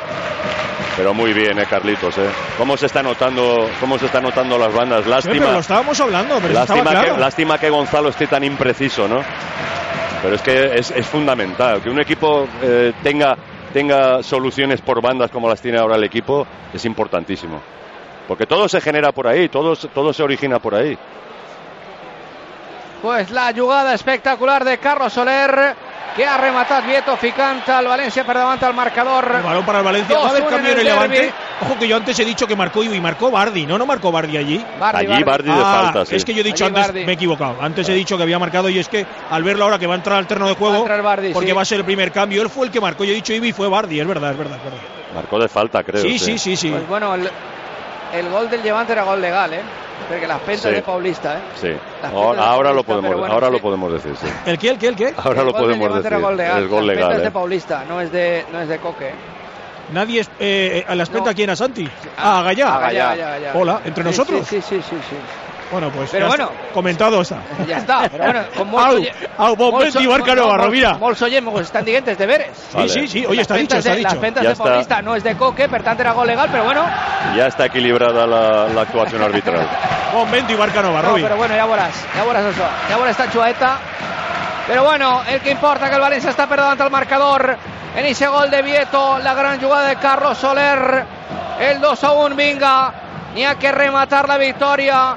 S4: Pero muy bien, ¿eh, Carlitos, ¿eh? ¿Cómo se está notando, cómo se está notando las
S3: Sí,
S4: bandas?
S3: pero
S4: Lástima,
S3: lo estábamos hablando, pero eso
S4: lástima,
S3: estaba
S4: que,
S3: claro.
S4: lástima que Gonzalo esté tan impreciso, ¿no? Pero es que es, es fundamental que un equipo eh, tenga tenga soluciones por bandas como las tiene ahora el equipo es importantísimo. Porque todo se genera por ahí, todo, se- todo se origina por ahí.
S2: Pues la jugada espectacular de Carlos Soler, que ha rematat Vieto Ficanta, el València per davant al marcador.
S3: El balón para el Valencia. Va a haber
S2: 2-1
S3: cambio
S2: en
S3: en
S2: el
S3: el Levante.
S2: derbi.
S3: Ojo que yo antes he dicho que marcó Ibi, marcó Bardi. No, no marcó Bardi allí.
S2: Bardi,
S4: Allí Bardi de
S3: Ah,
S4: falta, sí.
S3: Es que yo he dicho
S2: Allí
S3: antes,
S2: Bardi.
S3: me he equivocado. Antes he dicho que había marcado y es que al verlo ahora que va a entrar al terreno de
S2: Va a
S3: juego,
S2: entrar Bardi,
S3: porque
S2: sí.
S3: va a ser el primer cambio, él fue el que marcó. Yo he dicho Ibi y fue Bardi, es verdad, es verdad. Es verdad.
S4: Marcó de falta, creo.
S3: Sí, sí, sí, sí.
S2: Pues bueno, el, el gol del Levante era gol legal, ¿eh? Porque las pentas
S4: Sí.
S2: de Paulista, ¿eh?
S4: Sí.
S2: La
S4: Ahora, ahora lo
S2: Pero
S4: podemos,
S2: bueno,
S4: ahora
S2: sí.
S4: lo podemos decir, sí.
S3: ¿El qué, el qué, el qué?
S4: Ahora
S2: El gol del
S4: lo podemos
S2: Levante
S4: decir.
S2: era gol legal.
S4: El gol
S2: Las pentas
S4: legal.
S2: de
S4: ¿eh?
S2: Paulista, no es de, no es de Coque. ¿eh?
S3: Nadie es, eh, eh, a la espeta
S2: No.
S3: quién a Santi.
S2: Ah,
S3: Ah, a Gallá.
S2: a Gallá, a Gallá, a Gallá.
S3: Hola, entre
S2: Sí,
S3: nosotros.
S2: Sí, sí, sí, sí. sí.
S3: Bueno, pues
S2: Pero
S3: ya
S2: bueno.
S3: está. comentado está.
S2: Ya está, però bueno, con
S3: Au,
S2: molts...
S3: au, bon
S2: molts-
S3: vent i barca
S2: no,
S3: Navarro,
S2: molts-
S3: mira.
S2: Molts oients estan dient els deberes.
S4: Vale.
S3: Sí, sí, sí. Oye,
S2: Las
S3: está dicho,
S2: pentas
S3: está
S2: de- Las
S3: dicho.
S2: pentas
S4: Ya
S2: de
S4: está.
S2: Paulista no es de Coque, per tant era gol legal, però bueno...
S4: Ya está equilibrada la,
S2: [laughs]
S4: la actuación arbitral.
S3: Convento y Barca
S2: No,
S3: Novarrobi.
S2: però bueno, ja veuràs, ja veuràs això. Ja veuràs esta xueta. Però bueno, el que importa que el València està per davant al marcador. En ese gol de Vieto, la gran jugada de Carlos Soler. El 2 a 1, vinga. N'hi ha que rematar la victòria.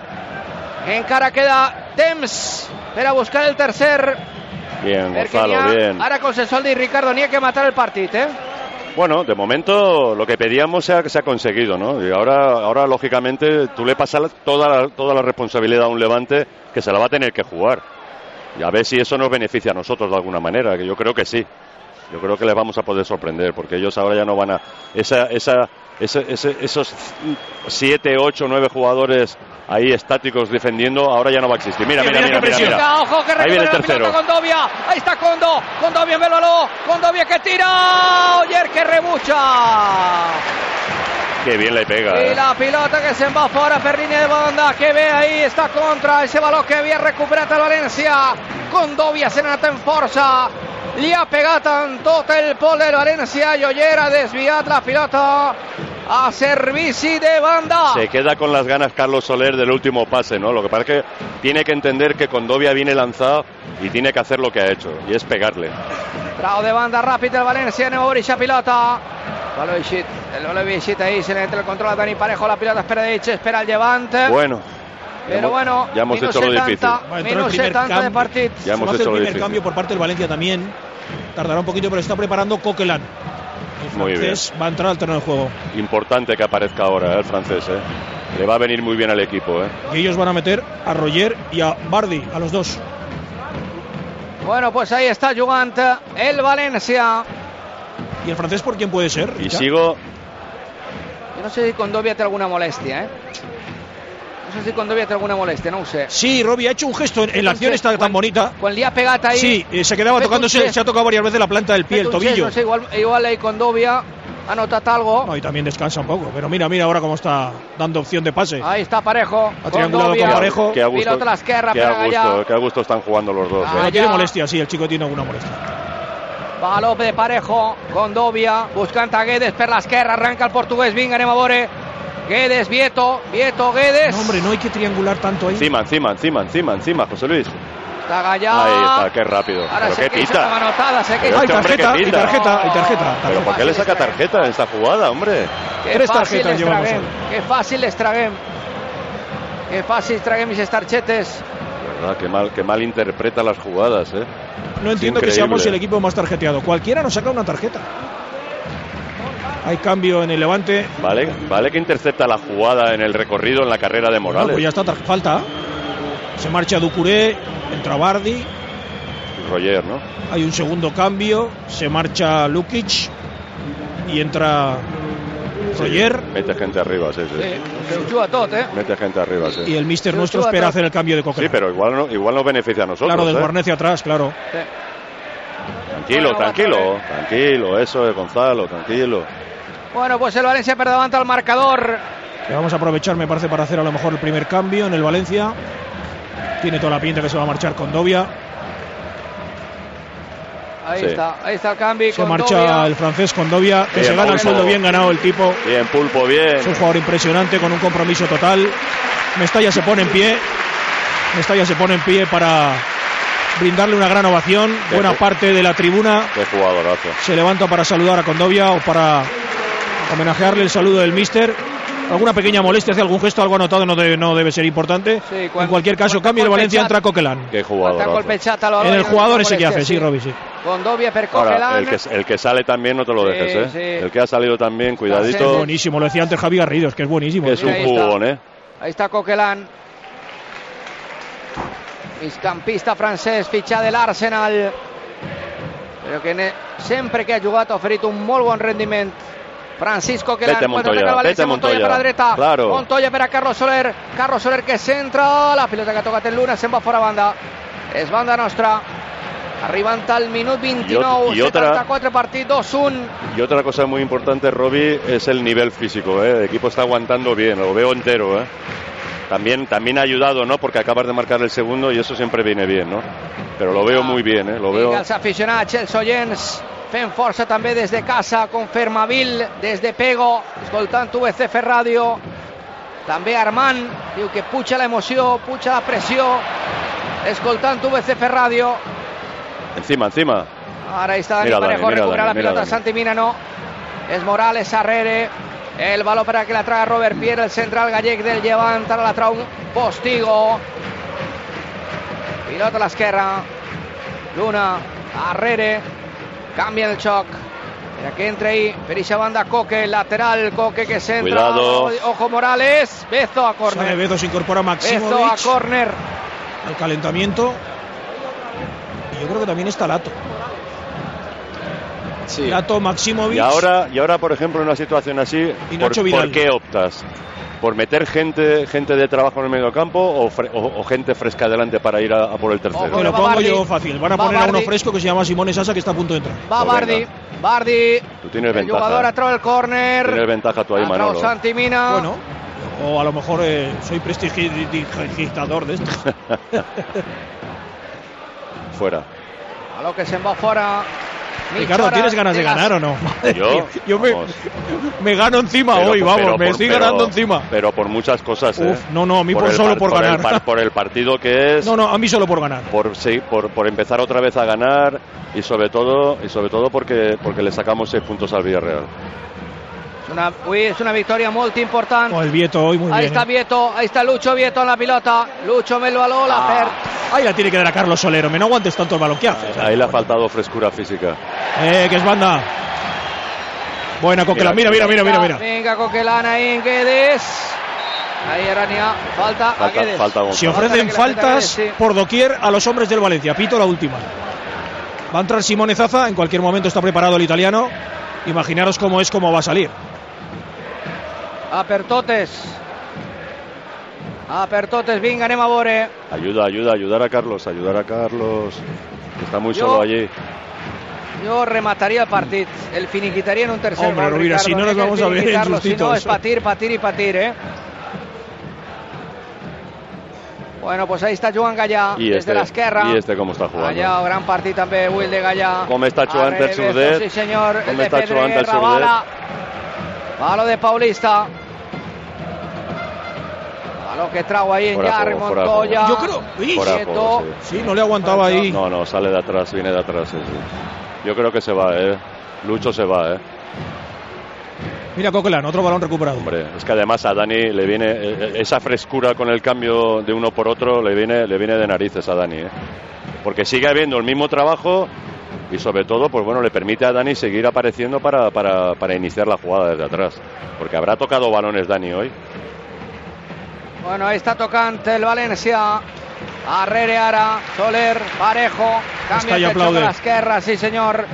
S2: Encara queda temps per a buscar el tercer.
S4: Bien,
S2: Perquè n'hi
S4: Gonzalo,
S2: ha,
S4: bien.
S2: ara com se sol dir, Ricardo, n'hi ha que matar el partit, eh?
S4: Bueno, de momento lo que pedíamos se ha, se ha conseguido, ¿no? Y ahora, ahora lógicamente, tú le pasas la- toda la, toda la responsabilidad a un Levante que se la va a tener que jugar. Y a ver si eso nos beneficia a nosotros de alguna manera, que yo creo que sí. Yo creo que les vamos a poder sorprender, porque ellos ahora ya no van a... Esa, esa, ese- ese- esos siete, ocho, nueve jugadores ahí estáticos defendiendo, ahora ya no va a existir. Mira,
S3: Mira,
S4: mira,
S3: mira
S4: mira,
S3: qué presión.
S4: mira, mira.
S2: Venga, ojo que
S4: Ahí
S2: recupera
S4: viene el
S2: la pelota
S4: tercero.
S2: Condovia. Ahí está Condo. Condovia en Beloló. Condovia que tira. Oyer que rebucha.
S4: Qué bien le pega.
S2: Y
S4: ¿eh?
S2: la pilota que se va fuera per línea de banda, que ve ahí, está contra ese balón que había recuperat el València. Condovia se n'ha anat en força, li ha pegat en tot el pol del València i Oller ha desviat la pilota a servici de banda.
S4: Se queda con las ganas Carlos Soler del último pase, ¿no? Lo que pasa es que tiene que entender que Condovia viene lanzado y tiene que hacer lo que ha hecho, y es pegarle.
S2: Eh. Trau de banda ràpid del València, anem a veure aquesta pilota. Baló eixit, el baló havia eixit ahí, se li entra el control a Dani Parejo, la pilota espera d'Eix, espera el Levant.
S4: Bueno, ya
S2: Però
S4: hemos-
S2: bueno,
S4: ya hemos
S2: minus
S4: hecho lo difícil.
S2: 70,
S3: Va a entrar el
S2: minus
S3: primer
S2: 70 eh, de
S3: cambio.
S2: partit.
S4: Ya hemos
S3: Se va a hacer
S4: hecho
S3: el
S4: lo
S3: primer
S4: difícil.
S3: cambio por parte del Valencia también. Tardará un poquito, pero está preparando Coquelin. El
S4: Muy
S3: francés va a entrar al terreno de juego.
S4: Importante que aparezca ahora ¿eh? el francés, ¿eh? Le va a venir muy bien al equipo, ¿eh?
S3: Y ellos van a meter a Roger y a Bardi, a los dos.
S2: Bueno, pues ahí está jugant el Valencia.
S3: ¿Y el francés por quién puede ser?
S4: Y
S3: Ya.
S4: sigo,
S2: Yo no sé si Condovia tiene alguna molestia, ¿eh? No sé si cuando había alguna molestia, no ho sé.
S3: Sí, Robbie ha hecho un gesto en, en la acción
S2: Entonces,
S3: esta tan
S2: quan-
S3: bonita.
S2: Quan li ha pegat ahí...
S3: Sí, eh, se quedaba
S2: Fet un
S3: tocándose,
S2: gest.
S3: se ha tocado varias veces la planta del pie, el
S2: Entonces,
S3: tobillo.
S2: No sé, igual, igual ahí con Dovia ha notat algo.
S3: No, eh. y también descansa un poco, pero mira, mira ahora cómo está dando opción de pase.
S2: Ahí está Parejo.
S3: triangulado con Parejo.
S4: Qué a gusto,
S2: Pilota a la esquerra,
S4: qué a
S2: pega
S4: gusto,
S2: allá.
S4: qué a gusto están jugando los dos.
S2: Ah,
S3: Pero
S4: ¿eh?
S3: tiene
S2: ya.
S3: molestia, sí, el chico tiene alguna molestia.
S2: Va López de Parejo, Condovia, buscant a Guedes per l'esquerra, arranca el portuguès, vinga, anem a veure. Guedes, Vieto, Vieto, Guedes.
S3: No, hombre, no hay que triangular tanto ahí.
S4: Encima, encima, encima, encima, encima, José Luis.
S2: Está Gallá.
S4: Ahí está, qué rápido.
S2: Ahora
S4: Pero
S2: se
S4: qué
S2: quita
S4: pita.
S2: una manotada, se
S4: Pero
S2: quita.
S3: Ay,
S4: este
S3: tarjeta,
S4: hombre que
S3: Ah, y
S4: pita.
S3: tarjeta, y tarjeta.
S4: Pero ¿por qué le saca tarjeta en esta jugada, hombre?
S2: Qué
S3: Tres
S2: fàcil
S3: tarjetas
S2: les
S3: llevamos
S2: traguem, Que fàcil les traguem. Que fàcil traguem aquestes targetes.
S4: De verdad, Qué mal, qué mal interpreta las jugadas, ¿eh?
S3: No entiendo que
S4: Increíble.
S3: seamos el equipo más tarjeteado. Cualquiera nos saca una tarjeta. Hay cambio en el levante.
S4: Vale, vale que intercepta la jugada en el recorrido en la carrera de
S3: Bueno, pues ya
S4: Morales.
S3: está, tar- falta. Se marcha Ducuré, entra Bardi,
S4: Roger, ¿no?
S3: hay un segundo cambio, se marcha Lukic y entra Roger.
S4: Mete gente arriba, sí, sí.
S2: Sí, Eh, se ho juga tot, eh?
S4: Mete gente arriba, sí.
S3: Y el mister
S2: Pero
S3: nuestro
S2: tú
S3: espera
S2: atrás.
S3: hacer el cambio de Coquelin.
S4: Sí, pero igual, no, igual nos beneficia a nosotros.
S3: Claro,
S4: ¿eh?
S3: desguarnece atrás, claro.
S2: Sí.
S4: Tranquilo,
S2: Bueno,
S4: tranquilo, tranquilo, eso es Gonzalo, tranquilo.
S2: Bueno, pues el Valencia per davant al marcador.
S3: Que vamos a aprovechar, me parece, para hacer a lo mejor el primer cambio en el Valencia. Tiene toda la pinta que se va a marchar con Dobia.
S2: Ahí
S4: Sí.
S2: está, ahí está el cambio.
S3: Se
S2: con
S3: marcha
S2: Dobia.
S3: el francés con Dobia, que
S4: Bien,
S3: se gana el
S4: Pulpo.
S3: sueldo bien ganado el tipo.
S4: Bien, pulpo, bien.
S3: Es un jugador impresionante con un compromiso total. Mestalla se pone en pie. Mestalla se pone en pie para brindarle una gran ovación.
S4: Qué
S3: Buena
S4: ju-
S3: parte de la tribuna
S4: Qué jugadorazo.
S3: se levanta para saludar a Condovia o para homenajearle el saludo del mister. Alguna pequeña molestia, hace algún gesto, algo anotado, no debe, no debe ser importante.
S2: Sí, cuando-
S3: en cualquier caso,
S2: cuando
S3: cambia el
S2: golpe
S3: Valencia,
S2: ya-
S3: entra Coquelán.
S4: Qué
S2: Falta
S4: jugadorazo.
S2: colpejat al
S3: En
S2: balón.
S3: el jugador ese que
S2: Molestia,
S3: hace, sí, Robbie, sí.
S2: Con Dobia per
S4: Ahora,
S2: Coquelán.
S4: el que, el que sale también no te lo
S2: Sí,
S4: dejes,
S2: sí.
S4: ¿eh? El que ha salido también,
S2: Sí,
S3: Es
S4: cuidadito,
S2: sí.
S3: buenísimo, lo decía antes Javi Garrido, es que es buenísimo.
S4: que es un
S2: Ahí está.
S4: jugón, ¿eh?
S2: Ahí está Coquelán. Miscampista francés, fitxat de l'Arsenal. Però que ne... sempre que ha jugat ha oferit un molt bon rendiment. Francisco Coquelán.
S4: Vete, Montoya,
S2: ataca el València,
S4: vete,
S2: Montoya.
S4: Montoya.
S2: per la dreta.
S4: Claro.
S2: Montoya per a Carlos Soler. Carlos Soler que centra. La pilota que ha tocat el Luna se'n va fora banda. És banda nostra. Arribant al minut 29.
S4: I ot- i otra.
S2: 74 partit, 2-1.
S4: Y otra cosa muy importante, Robbie, es el nivel físico, ¿eh? El equipo está aguantando bien, lo veo entero, ¿eh? También, también ha ayudado, ¿no? Porque acabas de marcar el segundo y eso siempre viene bien, ¿no? Pero lo veo muy bien, ¿eh? Lo veo...
S2: Vinga, els aficionats, els oients, fent força també des de casa, com Fermavil, des de Pego, escoltant VCF Ràdio, també Armand, diu que puja l'emoció, puja la pressió, escoltant VCF Ràdio,
S4: Encima, encima.
S2: ara hi està Dani
S4: Mira, Dani,
S2: Parejo,
S4: mira,
S2: recupera
S4: Dani,
S2: la
S4: mira,
S2: pilota
S4: Dani.
S2: Santi Minano, és Morales, Herrere, el baló per a que la traga Robert Pierre, el central gallec del Llevant, ara la trau Postigo, pilota a l'esquerra, Luna, Herrere, canvia el xoc. Mira que entra ahí, per eixa banda Coque, lateral, Coque que centra.
S4: Cuidado.
S2: Ojo Morales, Bezo a
S3: Sale
S2: córner.
S3: Bezo, se incorpora
S2: Bezo a
S3: Maximovic
S2: córner.
S3: al calentamiento. Y yo creo que también está Lato.
S5: Sí.
S3: Lato, Maximovic.
S4: Y ahora, y ahora, por ejemplo, en una situación así,
S3: Y
S4: ¿por,
S3: Nacho Vidal.
S4: por qué optas? ¿Por meter gente, gente de trabajo en el medio campo o, fre- o- o gente fresca adelante para ir a, a por el tercero?
S3: Te lo
S2: Va
S3: pongo
S2: Bardi.
S3: yo fácil. Van a
S2: Va
S3: poner a uno
S2: Bardi.
S3: fresco que se llama Simone Sasa que está a punto de entrar.
S2: Va
S4: Pues
S2: Bardi,
S4: venga.
S2: Bardi.
S4: Tú tienes
S2: El
S4: ventaja.
S2: jugador
S4: ¿eh?
S2: ha trau el
S4: Tienes
S2: córner.
S4: ventaja tú ahí,
S2: Ha trau
S4: Manolo.
S2: Santi Mina.
S3: Bueno, o a lo mejor eh, soy prestidigitador de esto.
S2: [laughs]
S4: Fuera.
S3: [laughs]
S2: A lo que se'n va fora. Mitja
S3: Ricardo,
S2: hora
S3: ¿tienes ganas de
S2: la-
S3: ganar o no?
S4: Yo,
S3: Yo me,
S4: vamos.
S3: me gano encima
S4: Pero
S3: hoy,
S4: por-
S3: vamos,
S4: pero
S3: me
S4: por-
S3: estoy
S4: pero-
S3: ganando encima.
S4: Pero por muchas cosas, ¿eh?
S3: Uf, no, no, a mí por
S4: el
S3: solo
S4: par-
S3: por
S4: el
S3: ganar.
S4: par- por el partido que es.
S3: No, no, a mí solo por ganar.
S4: Por, sí, por, por empezar otra vez a ganar y sobre todo y sobre todo porque porque le sacamos seis puntos al Villarreal.
S2: És una, avui és una victòria molt important.
S3: O Oh, el Vieto hoy Pues, muy
S2: Ahí
S3: bien.
S2: está
S3: ¿eh?
S2: Vieto, ahí está Lucho Vieto en la pelota. Lucho me el balón,
S3: Ah,
S2: la perd.
S3: Ahí la tiene que dar a Carlos Solero. Me no aguantes tanto el balón. ¿Qué haces?
S4: Ahí le ha faltado frescura física.
S3: Eh, que es banda. Buena Coquela. Mira,
S4: Mira,
S3: mira, mira, mira, mira.
S2: Venga, Coquelana ahí en Guedes. Ahí Arania, falta, a
S4: Falta,
S2: Guedes.
S4: falta Gonzalo.
S3: Se ofrecen faltas por doquier a los hombres del Valencia. Pito la última. Va a entrar Simone Zaza. En cualquier momento está preparado el italiano. Imaginaros cómo es, cómo va a salir.
S2: Apertotes. A Pertotes, vinga, anem a veure.
S4: Ayuda, ayuda, ayudar a Carlos, ayudar a Carlos, que está muy
S2: Yo-
S4: solo allí.
S2: Jo remataria el partit, el finiquitaria en un tercer
S3: Hombre,
S2: gol,
S3: Rovira,
S2: Ricardo.
S3: si no
S2: Hay
S3: nos
S2: que
S3: vamos a ver en
S2: finiquitarlo, Si no,
S3: sustitos.
S2: es patir, patir y patir, ¿eh? Bueno, pues ahí está Joan Gallà,
S4: Y
S2: desde
S4: este,
S2: la esquerra.
S4: y este cómo está jugando.
S2: Allà, gran partit també avui el de Gallà.
S4: Com està jugant
S2: Al
S4: del
S2: revés,
S4: Sordet.
S2: Sí, senyor.
S4: Com
S2: el de
S4: està
S2: Pedri,
S4: jugant del
S2: Rabala. Palo de Paulista. Palo que trau ahí en
S4: Fuera de
S2: Jarry
S4: juego, fuera de
S2: Montoya.
S3: Yo creo. ¡Uy!
S4: Fuera de juego,
S2: Quieto.
S3: Sí, no le aguantaba ahí.
S4: sí. No, no, sale de atrás, viene de atrás. sí, sí. Yo creo que se va, ¿eh? Lucho se va, ¿eh?
S3: Mira Coquelán, otro balón recuperado.
S4: Hombre, es que además a Dani le viene eh, esa frescura con el cambio de uno por otro, le viene, le viene de narices a Dani, ¿eh? porque sigue habiendo el mismo trabajo y sobre todo, pues bueno, le permite a Dani seguir apareciendo para, para, para iniciar la jugada desde atrás, porque habrá tocado balones Dani hoy.
S2: Bueno, ahí está tocante el Valencia. Arrere ara, Soler, Parejo.
S3: Está
S2: Cambia
S3: y
S2: el
S3: aplaude.
S2: de la esquerra, sí señor.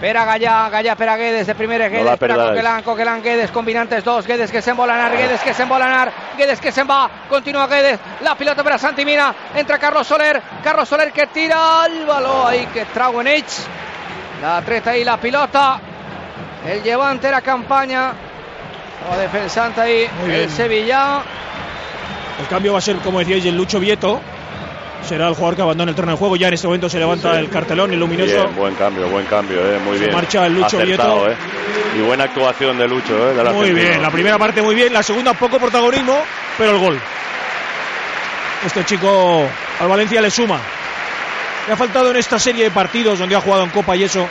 S2: Pera Gallá, Gallá, Pera Guedes, de primera Guedes,
S4: la
S2: Pera
S4: perdáis.
S2: Coquelán, Coquelán, Guedes, combinantes dos, Guedes que se embolanar, Guedes que se embolanar, Guedes que se va, continúa Guedes, la pilota para Santimina, entra Carlos Soler, Carlos Soler que tira el balón ahí que trago en H. La treta ahí la pilota, el llevante de la campaña, o defensante ahí,
S3: Muy
S2: el
S3: bien.
S2: Sevilla.
S3: El cambio va a ser, como decíais, el Lucho Vieto. Será el jugador que abandona el terreno de juego. Ya en este momento se levanta
S4: Sí.
S3: el cartelón, el luminoso.
S4: Bien, buen cambio, buen cambio, ¿eh? muy
S3: Se
S4: bien.
S3: marcha el Lucho
S4: Acertado,
S3: Vieto.
S4: ¿eh? Y buena actuación de Lucho, ¿eh? del
S3: Muy
S4: argentino.
S3: bien, la primera parte muy bien, la segunda poco protagonismo, pero el gol. Este chico al Valencia le suma. Le ha faltado en esta serie de partidos donde ha jugado en Copa y eso.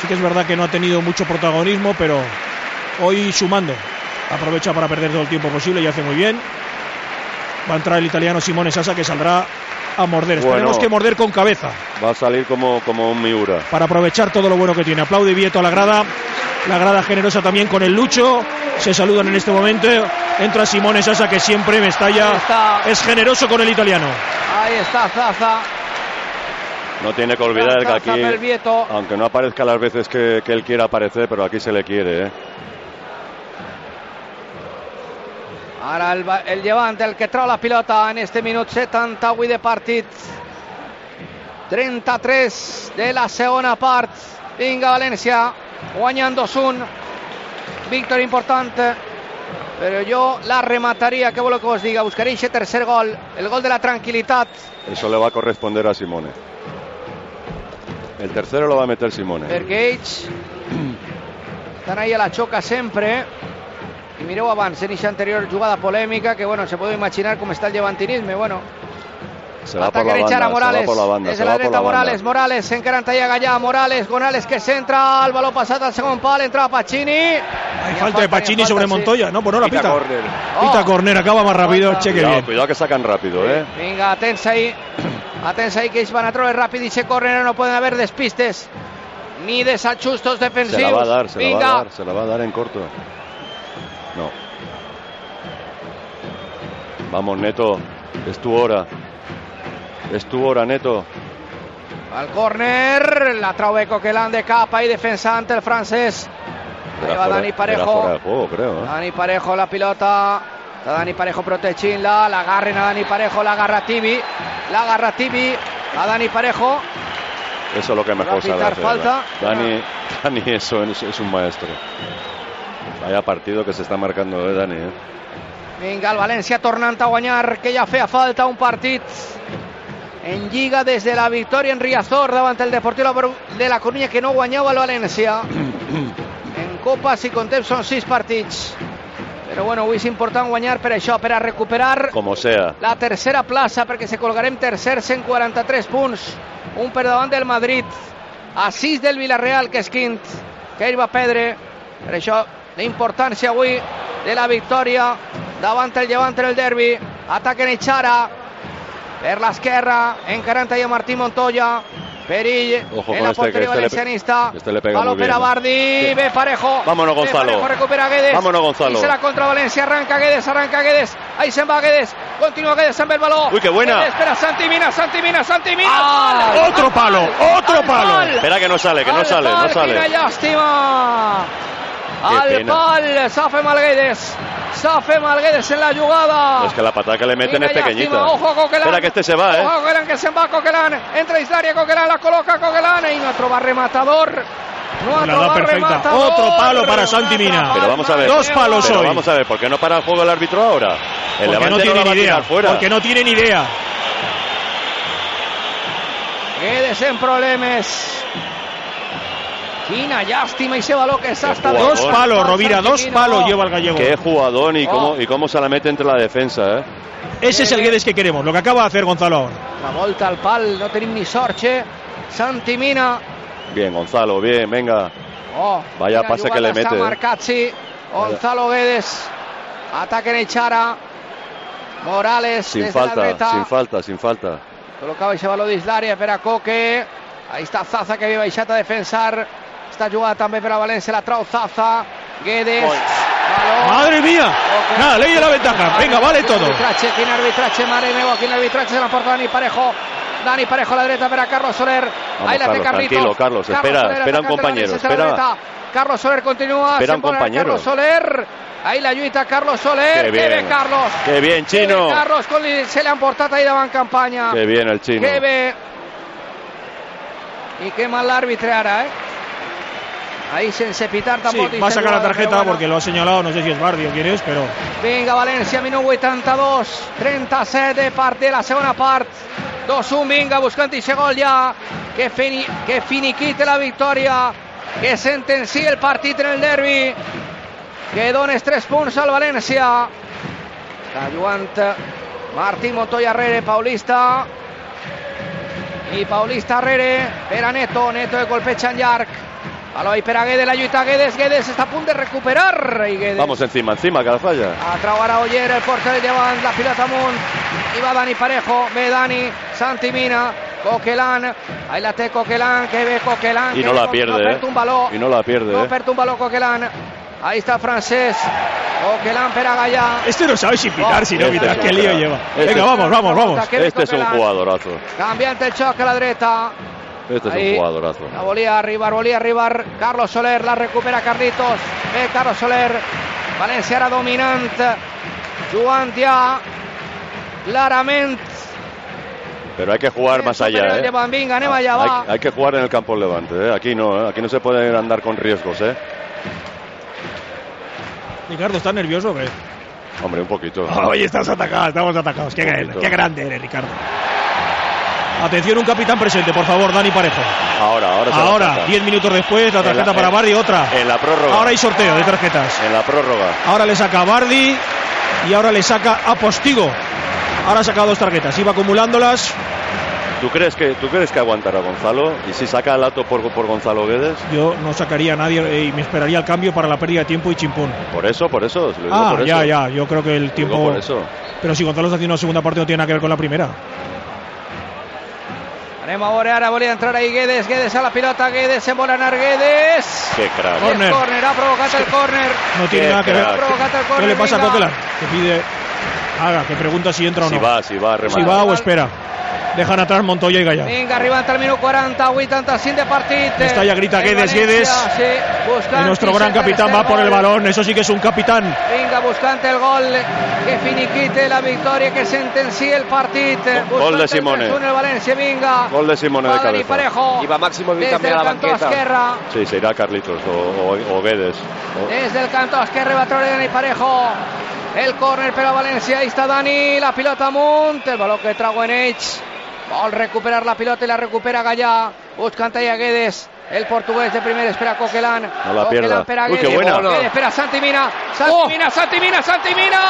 S3: Sí que es verdad que no ha tenido mucho protagonismo, pero hoy sumando. Aprovecha para perder todo el tiempo posible y hace muy bien. Va a entrar el italiano Simone Sasa que saldrá a morder.
S4: Bueno.
S3: Esperemos que morder con cabeza
S4: Va a salir como, como un Miura.
S3: para aprovechar todo lo bueno que tiene. Aplaude Vieto a la grada. La grada generosa también con el Lucho. Se saludan en este momento. Entra Simone Sasa que siempre me
S2: Ahí
S3: estalla.
S2: está.
S3: Es generoso con el italiano.
S2: Ahí está Zaza.
S4: No tiene que olvidar que
S2: Zaza, Mel
S4: aquí,
S2: Vieto.
S4: aunque no aparezca las veces que, que él quiera aparecer, pero aquí se le quiere. ¿eh?
S2: Ara el, va- el llevant, el que trau la pilota en este minut 78 de partit. 33 de la segona part. Vinga, València, guanyant 2-1. Víctor important, però jo la remataria, què voleu que vos diga? Buscaré aquest tercer gol, el gol de la tranquil·litat.
S4: Eso le va a corresponder a Simone. El tercero lo va a meter Simone.
S2: perquè ells estan ahí a la xoca sempre i mireu abans, en eixa anterior jugada polèmica que bueno, se podeu imaginar com està el llevantinisme bueno,
S4: Se va por
S2: ataca
S4: la
S2: a
S4: banda, se
S2: Morales
S4: va por la banda,
S2: des
S4: se
S2: de la
S4: va por
S2: dreta
S4: la
S2: Morales,
S4: banda.
S2: Morales s'encara en talla Gallà, Morales, Gonales que centra el baló passat al segon pal, entra Pacini
S3: Hay falta de Pacini sobre Montoya, ¿no? Pues no la
S5: Pita
S3: pita.
S5: córner.
S2: Oh.
S3: Pita corner, acaba más rápido.
S2: Falta.
S3: Cheque
S4: Oh. Cuidado,
S3: bien.
S4: cuidado que sacan rápido, ¿eh?
S2: Vinga, atents ahí. Atents ahí que ells van a treure ràpid i se corren, no poden haver despistes ni desajustos defensius.
S4: Se la va a dar, se la
S2: Vinga,
S4: va a dar, se la va a dar en corto. No. Vamos, Neto, es tu hora. Es tu hora, Neto.
S2: Al córner, la traube Coquelán de capa y defensante el francés. Ahí va Dani
S4: era fuera
S2: Parejo.
S4: de juego, creo. ¿eh?
S2: Dani Parejo la pilota. Está Dani Parejo protegint-la. La agarren a Dani Parejo, la agarra Tibi. La agarra Tibi a Dani Parejo.
S4: Eso es lo que
S2: Va a
S4: mejor sabe
S2: pitar
S4: hacer.
S2: falta.
S4: Dani, [laughs] Dani eso es, es un maestro. Vaya partido que se está marcando, ¿eh, Dani? ¿eh?
S2: Vinga, el València tornant a guanyar, que ja feia falta un partit en Lliga des de la victòria en Riazor davant el Deportiu La Bru- de la Coruña que no guanyava el València. en Copa, si contem, són sis partits. Però bueno, avui és important guanyar per això, per a recuperar
S4: Como sea.
S2: la tercera plaça, perquè se colgarem tercers en 43 punts. Un per davant del Madrid, a 6 del Villarreal, que és quint, que ell va perdre. Per això, la importància avui de la victòria davant el llevant en el derbi. Ataquen Echara per l'esquerra, encarant ahí a Martí Montoya. Perill
S4: Ojo
S2: en
S4: con
S2: la
S4: este, que
S2: porteria
S4: este le pe-
S2: valencianista.
S4: este le pega
S2: Balón
S4: muy
S2: per
S4: bien,
S2: a
S4: ¿eh?
S2: Bardi,
S4: Sí.
S2: ve Parejo.
S4: Vámonos,
S2: Ve
S4: Gonzalo.
S2: Parejo, recupera a Guedes.
S4: Vámonos, Gonzalo.
S2: Y se la contra Valencia, arranca Guedes, arranca Guedes. Ahí se va Guedes, continúa Guedes, se va el balón.
S4: Uy, qué buena.
S2: Guedes, espera, Santi Mina, Santi Mina, Santi Mina.
S3: Ah,
S2: ¡Gol!
S3: otro palo, otro palo.
S4: Espera que no sale, que no
S2: Al
S4: sale, no
S2: pal,
S4: sale.
S2: Quina llàstima.
S4: Qué
S2: Al
S4: pena.
S2: pal, s'ha fet mal Guedes. Safe Malguedes en la jugada.
S4: Es que la patada que le meten
S2: Viene
S4: es
S2: Llástima,
S4: pequeñita.
S2: Ojo, Coquelán.
S4: Espera que este se va, ¿eh?
S2: Ojo, Coquelán, que se va Coquelán. Entra a Islaria, Coquelán, la coloca Coquelán. Y no va rematador. No
S3: La da perfecta.
S2: rematador.
S3: Otro palo para Santi Mina.
S4: Pero vamos a ver.
S3: Dos palos
S4: Pero
S3: hoy.
S4: vamos a ver, ¿por qué no para el juego el árbitro ahora? El
S3: Porque
S4: Levante
S3: no
S4: la
S3: tienen
S4: va a
S3: idea.
S4: tirar fuera.
S3: Porque no tienen idea.
S2: Quedes en problemas. Quina, llástima y se va lo que es hasta
S4: Por
S3: Dos
S4: favor.
S3: palos, Rovira. Dos palos lleva el gallego.
S4: Qué jugadón
S2: Oh.
S4: y cómo, y cómo se la mete entre la defensa, ¿eh?
S3: Ese es el Guedes que queremos. Lo que acaba de hacer Gonzalo ahora.
S2: La volta al pal, no tenim ni sorche. Santi Mina.
S4: Bien, Gonzalo, bien, venga.
S2: Oh,
S4: Vaya
S2: quina
S4: passa que
S2: jugada
S4: le mete,
S2: Està
S4: eh?
S2: marcat, sí. Gonzalo Guedes. Ataque en Echara. Morales
S4: Sin
S2: desde la
S4: falta,
S2: dreta.
S4: sin falta, sin falta.
S2: Col·locava i se va l'Odis l'àrea per a Coque. Ahí està Zaza, que havia baixat a defensar. Està jugada també per a València, la trau Zaza. Guedes.
S5: Gol.
S2: Baló.
S3: ¡Madre mía! Nada, ley de la ventaja. Venga, vale todo.
S2: Arbitratge, quin arbitratge, mare meva, quin arbitratge se l'emporta Dani Parejo. Dani Parejo a la dreta per a Carlos Soler.
S4: Vamos, Carlos, tranquilo, Carlos, espera, espera un compañero, espera.
S2: Carlos Soler continua.
S4: Espera
S2: se'n
S4: un
S2: vol anar
S4: compañero.
S2: Carlos Soler. Ahí la lluita Carlos Soler. Que
S4: Qué bien.
S2: bé, Eh, Carlos.
S4: Qué bien, chino.
S2: Que bé, Carlos, con, se l'ha emportat ahir davant campanya.
S4: Qué bien el chino.
S2: Que bé. I que mal l'àrbitre ara, eh? Ahí sense pitar
S3: Sí,
S2: tampoc.
S3: va a
S2: i
S3: sacar la
S2: saluda, però
S3: tarjeta
S2: bueno.
S3: porque lo ha señalado. No sé si es Bardi o quién es, pero.
S2: Vinga, València, minut 82, 37 de partit de la segona part. 2-1, vinga, buscant aquest gol ja, que, fini, que finiquite la victòria, que sentenci el partit en el derbi, que dones 3 punts al València. Està jugant Martí Montoya Herrere, Paulista, i Paulista Herrere per a Neto, Neto que colpeja en llarg. Aloi per a Guedes, la lluita Guedes, Guedes està a punt de recuperar. I Guedes
S4: Vamos encima, encima, que la falla.
S2: a trabar a Oyer, el portero llevan la pilota amunt. I va Dani Parejo, ve Dani, Santi Mina, Coquelán, ahí la té Coquelán, que ve Coquelán.
S4: Y
S2: que
S4: no
S2: ve
S4: la
S2: Co-
S4: pierde, ¿eh?
S2: perd un baló.
S4: Y no la pierde,
S2: No
S4: ¿eh?
S2: perd un baló Coquelán. Ahí está francés, Coquelán per a Gallá.
S3: Este no sabe si pitar, si no
S4: Este
S3: pitar.
S4: no
S3: Qué lío
S4: pitará.
S3: lleva.
S4: Este-
S3: Venga, vamos, vamos, vamos.
S2: Qué bien,
S4: Este es un
S2: Coquelán.
S4: jugadorazo.
S2: Cambiante el choque a la dreta.
S4: Este es
S2: Ahí.
S4: un jugadorazo.
S2: La volía arribar, volía arribar. Carlos Soler la recupera Carlitos. Ve Carlos Soler. Valencia era dominante. Jugant ja clarament.
S4: Pero hay que jugar más allá,
S2: Superior
S4: ¿eh?
S2: de Van Vinga, anem allà,
S4: hay,
S2: va.
S4: hay que jugar en el campo levante, ¿eh? Aquí no, ¿eh? Aquí no se pueden andar con riesgos, ¿eh?
S3: Ricardo, ¿estás nervioso o [laughs] qué?
S4: Hombre, un poquito.
S3: Hoy estás atacado, estamos atacados. Qué, gran- qué grande eres, Ricardo. Atención, un capitán presente, por favor, Dani Parejo.
S4: Ahora, ahora. se la
S3: Ahora,
S4: saca.
S3: 10 minutos después, la tarjeta
S4: En la-
S3: para
S4: en-
S3: Bardi, otra.
S4: En la prórroga.
S3: Ahora hay sorteo de tarjetas.
S4: En la prórroga.
S3: Ahora le saca a Bardi y ahora le saca a Postigo. Ahora ha sacado dos tarjetas, iba acumulándolas.
S4: ¿Tú crees que tú crees que aguantará Gonzalo? ¿Y si saca al ato por, por Gonzalo Guedes?
S3: Yo no sacaría a nadie eh, y me esperaría el cambio para la pérdida de tiempo y chimpón.
S4: Por eso, por eso. lo digo
S3: Ah,
S4: por
S3: ya,
S4: eso.
S3: ya, yo creo que el
S4: Lo digo
S3: tiempo...
S4: por eso.
S3: Pero si Gonzalo está haciendo una segunda parte no tiene nada que ver con la primera.
S2: Anem a veure, ara volia entrar ahí Guedes, Guedes a la pilota, Guedes, se vol anar Guedes.
S4: Qué crack.
S3: Corner.
S2: És corner, ha provocat el corner.
S3: No tiene
S4: Qué
S3: nada que ver.
S2: Ha
S4: crack.
S2: provocat el corner.
S3: ¿Qué le pasa a
S2: vinga.
S3: Coquelán? Que pide... Haga, que pregunta si entra o
S4: Si
S3: no.
S4: va, si va, remata.
S3: Si va o espera. Dejan atrás Montoya y Gallá.
S2: Vinga, arribant al minut 40, 85 de partit.
S3: Està ja grita
S2: El
S3: Guedes,
S2: València,
S3: Guedes.
S2: Sí, buscant
S3: Y nuestro gran
S2: aquest
S3: capitán va
S2: tercer
S3: por el
S2: gol.
S3: balón. Eso sí que es un capitán.
S2: Vinga, buscant el gol que finiquite la victòria, que sentenci el partit.
S4: Gol
S2: Buscant
S4: de
S2: el
S4: Simone.
S2: 3-1 El València, vinga.
S4: Gol de Simone de
S2: Va Dani
S4: cabeza.
S2: Parejo.
S5: Y va Máximo
S2: Des
S5: también
S2: del
S5: a la
S2: cantó
S5: banqueta.
S2: esquerra.
S4: Sí, se irá Carlitos o, o- o Guedes. O-
S2: Desde el canto esquerra va a traer Dani Parejo. El córner para Valencia. Ahí está Dani. La pilota Munt. El balón que trago en Edge. Va a recuperar la pilota y la recupera Gallá. Buscan a Guedes. El portugués de primera espera a Coquelán.
S4: No la
S2: Coquelán
S4: pierda.
S2: espera a
S4: Uy, qué
S2: Guedes.
S4: buena. Oh.
S2: Guedes espera a Santi Mina. Santi Mina, Santi Mina, Santi Mina.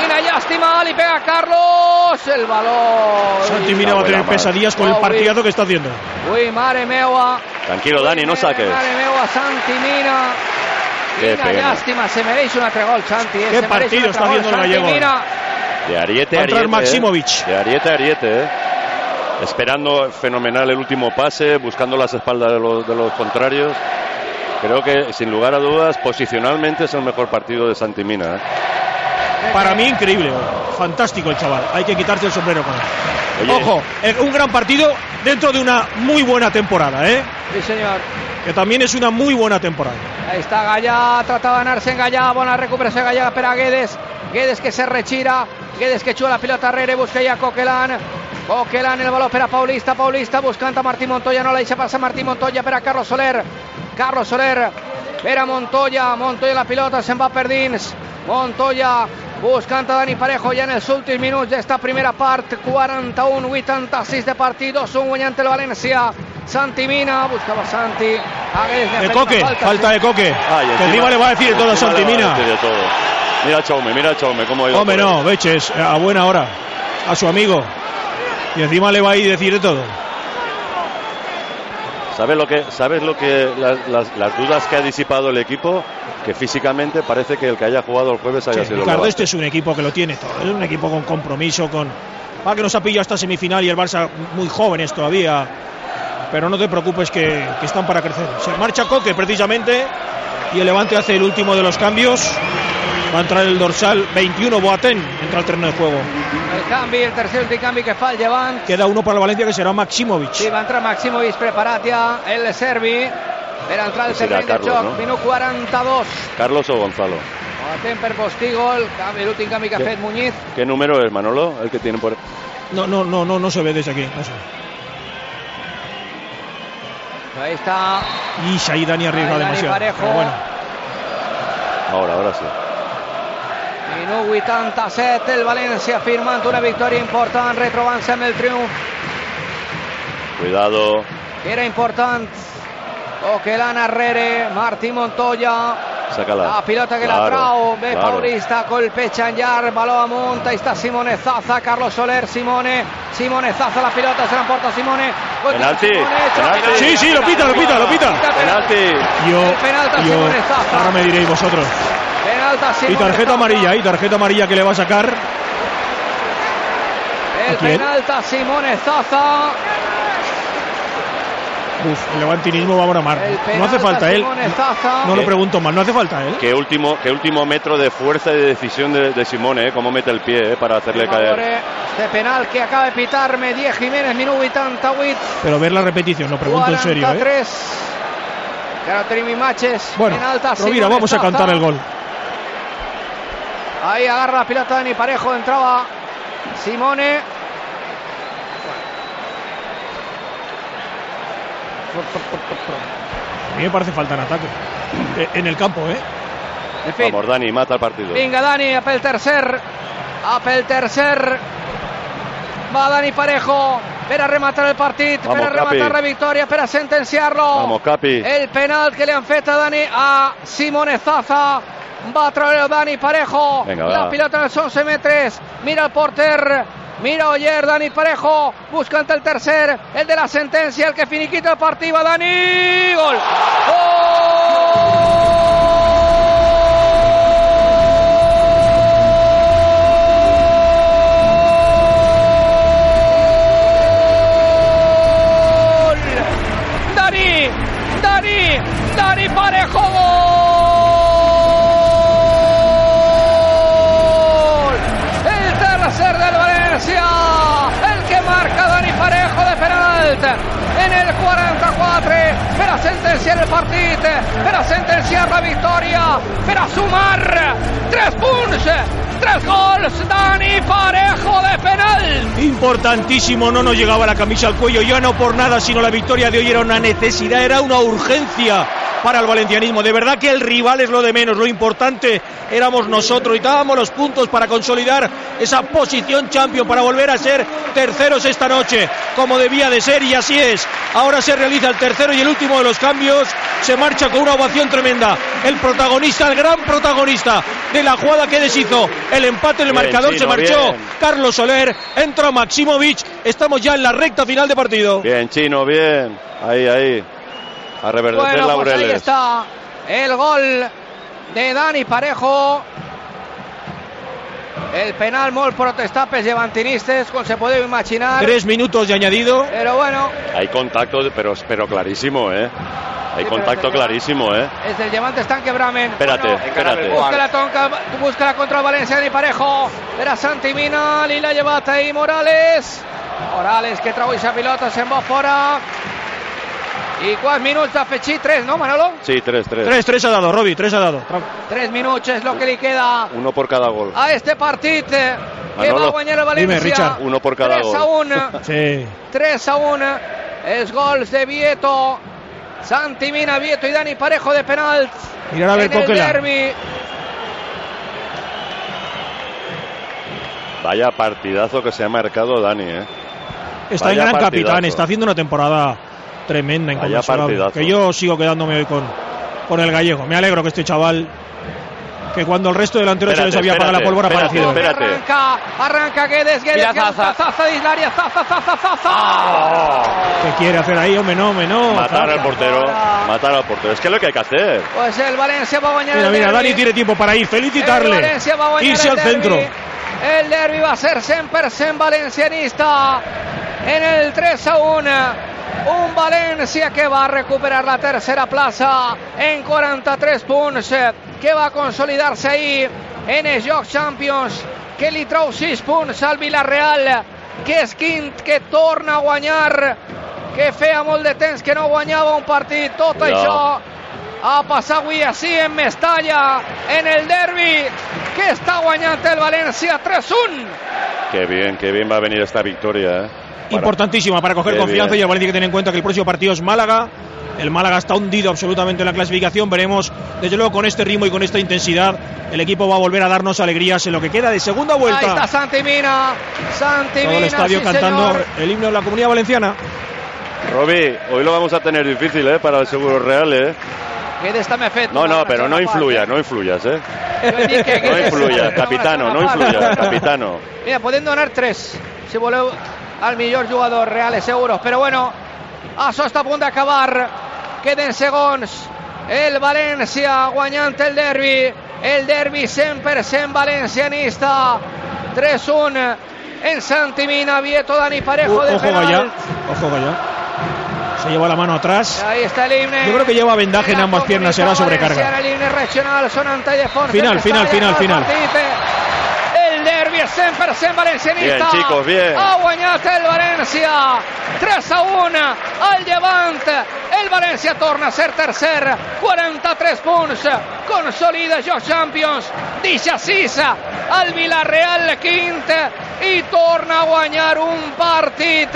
S2: Y una lástima. Le pega a Carlos. El balón.
S3: Santi
S2: Uy,
S3: Mina va a tener
S4: buena,
S3: pesadillas con
S2: madre.
S3: el
S2: No,
S3: partidazo que está haciendo.
S2: Uy, mare meua.
S4: Tranquilo, Dani, no saques.
S2: Mare meua, Santi Mina.
S4: Qué
S2: Quina
S4: pena.
S2: llàstima, se mereix un altre gol, Santi. Eh?
S3: Qué
S2: se mereix un
S3: partido
S2: altre
S3: está
S2: gol,
S3: haciendo el
S2: Santi,
S3: gallego ahora.
S2: Mira,
S4: De Ariete
S3: Va a
S4: a
S3: entrar
S4: Ariete.
S3: Maximovic.
S4: ¿eh? De Ariete a Ariete, ¿eh? Esperando fenomenal el último pase, buscando las espaldas de los, de los contrarios. Creo que, sin lugar a dudas, posicionalmente es el mejor partido de Santimina. ¿eh?
S3: Para mí, increíble. Fantástico el chaval. Hay que quitarse el sombrero con él.
S4: Oye.
S3: Ojo, eh, un gran partido dentro de una muy buena temporada, ¿eh?
S2: sí senyor.
S3: que también es una muy buena temporada.
S2: Ahí está Gallá, trata de ganarse en Gallá, buena recuperación Gallá, espera a Guedes, Guedes que se retira, Guedes que chuva la pelota a Rere, busca ya a Coquelán, Coquelán el balón para Paulista, Paulista buscant a Martín Montoya, no la deixa passar Martín Montoya per a Carlos Soler, Carlos Soler per a Montoya, Montoya la pilota se'n va per dins, Montoya buscant a Dani Parejo ja en els últims minuts d'esta primera part, 41-86 de partit, 2-1 guanyant el València, Santi Mina, buscava Santi, Agués, li ha
S3: De
S2: fet
S3: Eh, Coque,
S2: una
S3: falta de Coque.
S4: Ah, y
S3: que encima le va a decir todo a
S4: encima
S3: Santi
S4: le va a
S3: Mina.
S4: decir de todo. Mira a Chaume, mira a Chaume, cómo ha ido.
S3: Hombre,
S4: por
S3: no,
S4: ahí.
S3: Beches, eh, a buena hora, a su amigo. Y encima le va a ir a decir de todo.
S4: ¿Sabes lo que, sabes lo que las, las- las dudas que ha disipado el equipo? Que físicamente parece que el que haya jugado el jueves haya
S3: Sí,
S4: sido el
S3: Ricardo,
S4: Barça.
S3: este es un equipo que lo tiene todo. Es un equipo con compromiso, con. Ah, que nos ha pillado hasta semifinal y el Barça muy jóvenes todavía. Pero no te preocupes que, que están para crecer. Se marcha Coque precisamente y el Levante hace el último de los cambios. Va a entrar el dorsal 21 Boateng, entra al terreno de juego.
S2: El canvi, el tercer últim canvi que fa el llevant.
S3: Queda uno para el Valencia que será Maximovic.
S2: Sí, va entrar Maximovic preparat ja, el serbi, per entrar al
S4: Sí,
S2: terreny de
S4: serà Pues Carlos,
S2: joc,
S4: no?
S2: minut 42.
S4: Carlos o Gonzalo.
S2: Atent per Postigol, canvi, l'últim canvi que ha
S4: Sí.
S2: fet Muñiz.
S4: ¿Qué número es, Manolo? El que tiene por.
S3: No, no, no, no, no se ve desde aquí. No sé.
S2: Ahí está,
S3: Y ahí Dani arriesga
S2: Ahí Dani
S3: demasiado.
S2: Parejo.
S3: Pero bueno,
S4: Ahora, ahora sí.
S2: minut 87, el València firmant una victòria important, retrobant-se amb el triomf,
S4: Cuidado.
S2: que era important. Oquelan Herrere, Martí Montoya,
S4: Sácala.
S2: La Ah, pilota que la
S4: Claro,
S2: trao, ve
S4: claro.
S2: Paulista, colpecha en Yar, balón a Monta, ahí está Simone Zaza, Carlos Soler, Simone, Simone Zaza, la pelota se la emporta Simone. gol de
S4: Penalti,
S2: Simone,
S4: penalti.
S2: penalti,
S3: Sí, sí, lo pita, lo pita, lo pita.
S2: Penalti,
S4: Penalti.
S3: yo,
S2: El penalti a
S3: yo,
S2: Simone Zaza.
S3: ahora me diréis vosotros.
S2: penalti a
S3: Y
S2: Simone
S3: tarjeta
S2: Zaza.
S3: amarilla, y tarjeta amarilla que le va a sacar.
S2: El
S3: ¿A quién?
S2: penalti a Simone Zaza.
S3: Uf, el levantinismo va a bramar.
S2: El penalti
S3: No hace
S2: a
S3: falta él.
S2: Simone Zaza.
S3: No lo
S4: Eh.
S3: pregunto más, no hace falta ¿eh? él.
S4: Qué último, qué último metro de fuerza y de decisión de, de Simone, ¿eh? Cómo mete el pie, ¿eh? Para hacerle caer.
S2: Este penal que acaba de pitarme Diez Jiménez, minuto 88.
S3: Pero ver la repetición, lo pregunto en serio. ¿eh?
S2: 43. Caratrini Maches.
S3: Bueno,
S2: penalti a
S3: Rovira,
S2: Simone
S3: vamos a
S2: Zaza.
S3: cantar el gol.
S2: Ahí agarra la pelota Dani Parejo, entraba Simone.
S3: A mí me parece falta en ataque. Eh, En el campo, ¿eh?
S2: En fin,
S4: Vamos, Dani, mata el partido.
S2: vinga Dani, a pel tercer, a pel tercer. Va Dani Parejo, per a rematar el partit, per a
S4: Vamos, Capi.
S2: rematar la victòria, per a sentenciar-lo.
S4: Vamos, Capi.
S2: El penal que le han fet a Dani a Simone Zaza. Va a traer a Dani Parejo.
S4: Venga,
S2: la
S4: va.
S2: pilota en los 11 metros. Mira el porter. Mira Oyer, Dani Parejo. Busca ante el tercer. El de la sentencia. El que finiquita el partido. a Dani. Gol. ¡Gol! Dani. Dani. Dani Parejo. ¡Gol! El tercer del Valencia. El que marca Dani Parejo de penalti. En el 44. Para sentenciar el partido. Para sentenciar la victoria. Para sumar. Tres punts. Tres gols. Dani Parejo de penal.
S3: Importantísimo, no nos llegaba la camisa al cuello. Ya no por nada, sino la victoria de hoy era una necesidad, era una urgencia para el valencianismo. De verdad que el rival es lo de menos, lo importante éramos nosotros y dábamos los puntos para consolidar esa posición champion, para volver a ser terceros esta noche, como debía de ser y así es. Ahora se realiza el tercero y el último de los cambios, se marcha con una ovación tremenda. El protagonista, el gran protagonista de la jugada que deshizo el empate en el
S4: Bien,
S3: marcador, se
S4: Chino,
S3: marchó.
S4: bien.
S3: Carlos Soler, entra Maximovic, estamos ya en la recta final de partido.
S4: Bien, chino, bien. Ahí, ahí. A reverdecer
S2: Bueno, pues ahí
S4: laureles.
S2: está el gol de Dani Parejo. El penal molt protestat pels llevantinistes, com se podeu imaginar.
S3: Tres minutos de añadido.
S2: Pero bueno,
S4: Hay contacto, pero, pero clarísimo, ¿eh? Hay
S2: Sí,
S4: contacto
S2: pero-
S4: clarísimo, ¿eh?
S2: es del Levante están que bramen.
S4: Espérate,
S2: Bueno,
S4: espérate.
S5: encara
S2: busca la tonca, busca la contra el Valencia Dani Parejo. Era Santi Mina, i la llevat ahí Morales. Morales que trau aquesta pilota, se'n va fora. I quants minuts d'afegir? 3, no, Manolo?
S4: Sí, 3-3.
S3: Tres, tres ha dado, Robbie, tres ha dado.
S2: 3 minuts és lo que li queda
S4: Uno por cada gol.
S2: a este partit eh, que
S4: Manolo,
S2: va guanyar el
S3: dime,
S2: València.
S3: Richard.
S4: Uno por cada
S2: 3 a
S4: gol.
S2: 1.
S3: Sí.
S2: 3 a 1. Els gols de Vieto, Santi Mina, Vieto i Dani Parejo de penalt.
S3: Mirar a ver
S2: en el
S3: Coquela.
S2: derbi.
S4: Vaya partidazo que se ha marcado Dani, ¿eh?
S3: Está en
S4: Vaya
S3: gran
S4: partidazo.
S3: capitán, está haciendo una temporada tremenda,
S4: Vaya
S3: inconmensurable.
S4: partidazo.
S3: Que yo sigo quedándome hoy con, con el gallego. Me alegro que este chaval, que cuando el resto delantero se
S4: Espérate,
S3: les había apagado la
S4: espérate,
S3: pólvora, ha
S4: espérate,
S3: aparecido.
S4: espérate.
S2: Arranca, arranca Guedes, Guedes,
S5: Mira,
S2: que busca
S5: Zaza.
S2: Zaza de Islaria, Zaza, Zaza, Zaza. Ah.
S4: Ah.
S3: ¿Qué quiere hacer ahí? Hombre, no, hombre, no.
S4: Matar al
S3: Zaza.
S4: portero. Matar al portero. Es que es lo que hay que hacer.
S2: Pues el Valencia va a guanyar
S3: Mira,
S2: el
S3: mira,
S2: derbi.
S3: Dani tiene tiempo para ir.
S2: El
S3: Felicitarle.
S2: Valencia va a guanyar
S3: Irse
S2: el
S3: al
S2: derbi.
S3: centro.
S2: El derbi va a ser 100% valencianista en el 3 a 1. Un Valencia que va a recuperar la tercera plaza en 43 punts, eh, que va a consolidarse ahí en els Jocs Champions, que li trau 6 punts al Villarreal, que és quint, que torna a guanyar, que feia molt de temps que no guanyava un partit, tot
S4: Cuidao.
S2: això a passar avui així en Mestalla, en el derbi, que està guanyant el València 3-1.
S4: Qué bien, qué bien va a venir esta victoria, ¿eh? Para-
S3: Importantísima para coger
S4: Qué
S3: confianza
S4: bien.
S3: y el Valencia hay que tener en cuenta que el próximo partido es Málaga. El Málaga está hundido absolutamente en la clasificación. Veremos, desde luego, con este ritmo y con esta intensidad, el equipo va a volver a darnos alegrías en lo que queda de segunda
S2: Ahí
S3: vuelta.
S2: está Santi Mina, Santi
S3: Todo
S2: Mina,
S3: el estadio
S2: sí,
S3: cantando
S2: señor.
S3: el himno de la Comunidad Valenciana.
S4: Robi, hoy lo vamos a tener difícil, ¿eh? Para el Seguro Real, ¿eh?
S2: Guedes també ha fet
S4: No,
S2: una
S4: no, pero
S2: segona
S4: no
S2: part,
S4: influyas,
S2: eh?
S4: no influyas, ¿eh?
S2: Jo he dit que
S4: No
S2: Guedes ha
S4: influyas,
S2: fet una
S4: capitano, no
S2: segona part.
S4: influyas, capitano.
S2: Mira, podem donar tres, si voleu, al millor jugador reales euros. Però bueno, això està a punt d'acabar. Queden segons. El València guanyant el derbi. El derbi 100% valencianista. 3-1 en Santimina, Vieto, Dani
S3: O-
S2: Parejo de
S3: Ojo Gallá,
S2: penal.
S3: ojo Gallá. Se lleva la mano atrás.
S2: Ahí está el himne.
S3: Yo creo que lleva vendaje en ambas piernas, será sobrecarga.
S2: El himne regional, son Antay de Fons,
S3: Final,
S2: que
S3: final,
S2: está
S3: final,
S2: llegando al
S3: final.
S2: partit. El derbi és 100% valencianista.
S4: Bien, chicos, bien.
S2: Ha guanyat el València. 3 a 1 al Llevant. El València torna a ser tercer. 43 punts. Consolida Jocs Champions. Deixa 6 al Villarreal quint i torna a guanyar un partit.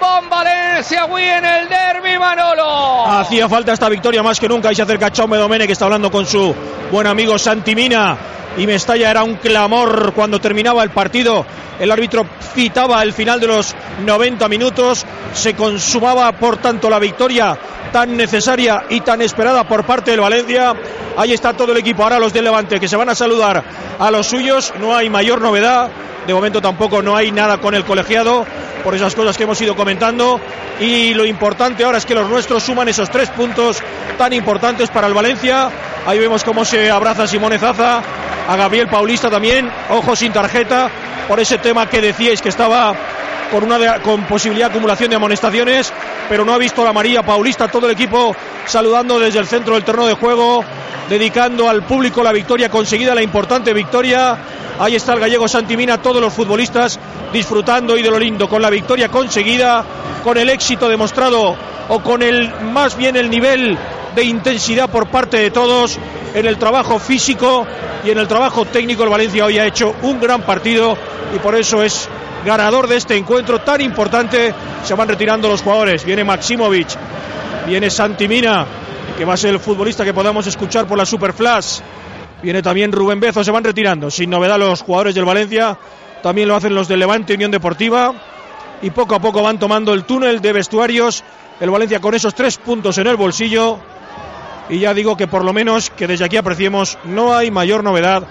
S2: Bon València avui en el derbi, Manolo.
S3: Hacía falta esta victoria más que nunca y se acerca Chaume Domene que está hablando con su buen amigo Santimina. Y Mestalla era un clamor cuando terminaba el partido. El árbitro citaba el final de los 90 minutos. Se consumaba, por tanto, la victoria tan necesaria y tan esperada por parte del Valencia. Ahí está todo el equipo. Ahora los del Levante que se van a saludar a los suyos. No hay mayor novedad. De momento tampoco no hay nada con el colegiado por esas cosas que hemos ido comentando. Y lo importante ahora es que los nuestros suman esos tres puntos tan importantes para el Valencia. Ahí vemos cómo se abraza Simone Zaza, a Gabriel Paulista también, ojo sin tarjeta, por ese tema que decíais que estaba con una de- con posibilidad de acumulación de amonestaciones, pero no ha visto la María Paulista, todo el equipo saludando desde el centro del terreno de juego, dedicando al público la victoria conseguida, la importante victoria. Ahí está el gallego Santimina, todos los futbolistas disfrutando y de lo lindo, con la victoria conseguida, con el éxito demostrado o con el más bien el nivel de intensidad por parte de todos en el trabajo físico y en el trabajo técnico. El Valencia hoy ha hecho un gran partido y por eso es ganador de este encuentro tan importante. Se van retirando los jugadores. Viene Maximovic, viene Santimina, que va a ser el futbolista que podamos escuchar por la Superflash. Viene también Rubén Bezo, se van retirando. Sin novedad los jugadores del Valencia, también lo hacen los del Levante Unión Deportiva. Y poco a poco van tomando el túnel de vestuarios. El Valencia con esos tres puntos en el bolsillo. Y ya digo que por lo menos que desde aquí apreciemos, no hay mayor novedad.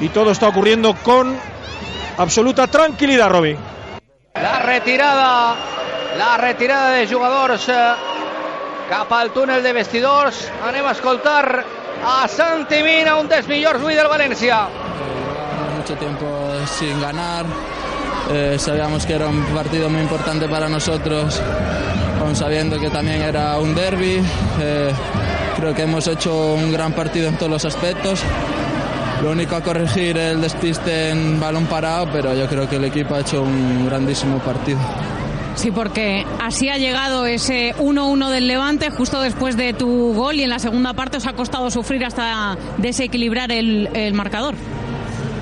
S3: Y todo está ocurriendo con absoluta tranquilidad, Robbie.
S2: La retirada, la retirada de jugadors eh, cap al túnel de vestidors. Anem a escoltar a Santi Mina, un dels millors avui del València.
S6: Llevábamos Eh, mucho tiempo sin ganar. Eh, sabíamos que era un partido muy importante para nosotros, aun sabiendo que también era un derby. Eh, creo que hemos hecho un gran partido en todos los aspectos. Lo único a corregir es el despiste en balón parado, pero yo creo que el equipo ha hecho un grandísimo partido.
S7: Sí, porque así ha llegado ese 1-1 del Levante justo después de tu gol y en la segunda parte os ha costado sufrir hasta desequilibrar el, el marcador.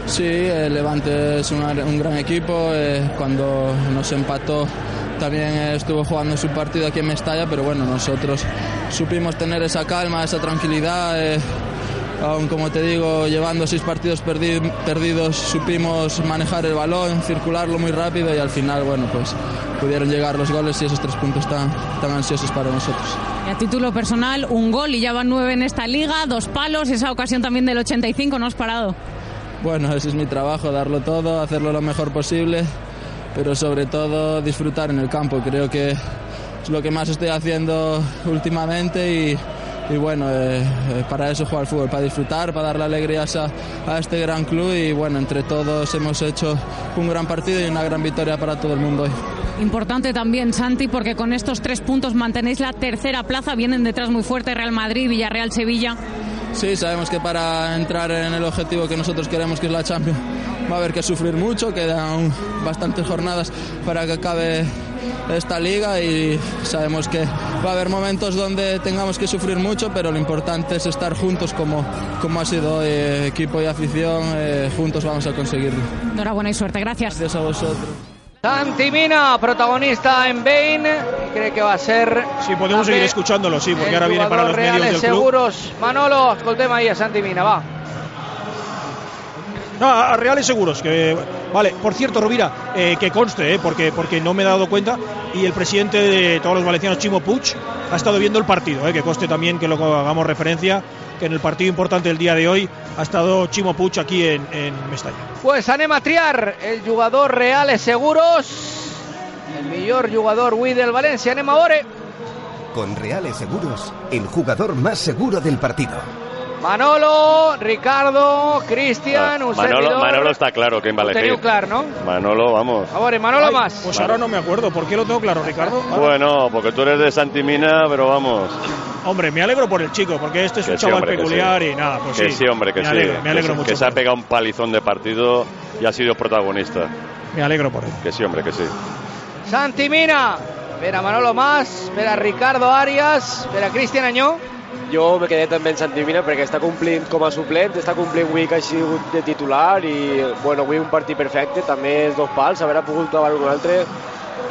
S6: Sí, el Levante es un, un gran equipo. eh, cuando nos empató también eh, estuvo jugando su partido aquí en Mestalla, pero bueno, nosotros supimos tener esa calma, esa tranquilidad. eh, aún como te digo, llevando seis partidos perdi- perdidos, supimos manejar el balón, circularlo muy rápido y al final, bueno, pues pudieron llegar los goles y esos tres puntos tan, tan ansiosos para nosotros.
S7: Y a título personal, un gol y ya van nueve en esta liga, dos palos, esa ocasión también del 85, no has parado.
S6: Bueno, ese es mi trabajo, darlo todo, hacerlo lo mejor posible, pero sobre todo disfrutar en el campo. Creo que es lo que más estoy haciendo últimamente y, y bueno, eh, eh, para eso jugar al fútbol, para disfrutar, para darle alegrías a, a este gran club y bueno, entre todos hemos hecho un gran partido y una gran victoria para todo el mundo hoy.
S7: Importante también, Santi, porque con estos tres puntos mantenéis la tercera plaza, vienen detrás muy fuerte Real Madrid, Villarreal, Sevilla.
S6: Sí, sabemos que para entrar en el objetivo que nosotros queremos, que es la Champions, va a haber que sufrir mucho, quedan aún bastantes jornadas para que acabe esta liga y sabemos que va a haber momentos donde tengamos que sufrir mucho, pero lo importante es estar juntos como, como ha sido hoy, eh, equipo y afición, eh, juntos vamos a conseguirlo.
S7: Enhorabuena y suerte, gracias.
S6: Gracias a vosotros.
S2: Santi Mina, protagonista en Bain, y cree que va a ser.
S3: Sí, podemos seguir
S2: también
S3: escuchándolo, sí, porque
S2: el
S3: ahora viene para
S2: jugador
S3: los
S2: Reales
S3: medios del club.
S2: Seguros. Manolo, escoltem ahí a Santi Mina, va.
S3: No, a a Reales Seguros. Que, vale, por cierto, Rovira, eh, que conste, eh, porque, porque no me he dado cuenta. Y el presidente de todos los valencianos, Chimo Puig, ha estado viendo el partido. eh, que conste también que lo hagamos referencia, que en el partido importante del día de hoy ha estado Chimo Puig aquí en, en Mestalla.
S2: Pues anem a triar el jugador Reales Seguros, el mejor jugador Wii del Valencia, anem a veure.
S8: Con Reales Seguros, el jugador más seguro del partido.
S2: Manolo, Ricardo, Cristian, un
S4: Ah, Manolo,
S2: servidor.
S4: Manolo está claro que en
S2: Ho teniu
S4: Valencia.
S2: clar, no?
S4: Manolo, vamos.
S2: A veure, Manolo
S3: Ay,
S2: más.
S3: Pues ahora no me acuerdo. ¿Por qué lo tengo claro, Ricardo? Ahora-
S4: Bueno, porque tú eres de Santimina, pero vamos.
S3: Hombre, me alegro por el chico, porque este es un
S4: Que sí,
S3: chaval
S4: hombre, que
S3: peculiar
S4: sí.
S3: y nada, pues
S4: que sí, hombre, que
S3: me
S4: sí.
S3: Alegro, me alegro
S4: que, se-
S3: mucho.
S4: que se ha
S3: por él.
S4: pegado un palizón de partido y ha sido protagonista.
S3: Me alegro por él.
S4: Que sí, hombre, que sí.
S2: Santi Mina, espera Manolo más, espera Ricardo Arias, espera Cristian Añó.
S5: Jo me quedé també en Santimina perquè està complint com a suplent, està complint avui que ha sigut de titular i, bueno, avui un partit perfecte, també els dos pals, haver pogut clavar algun altre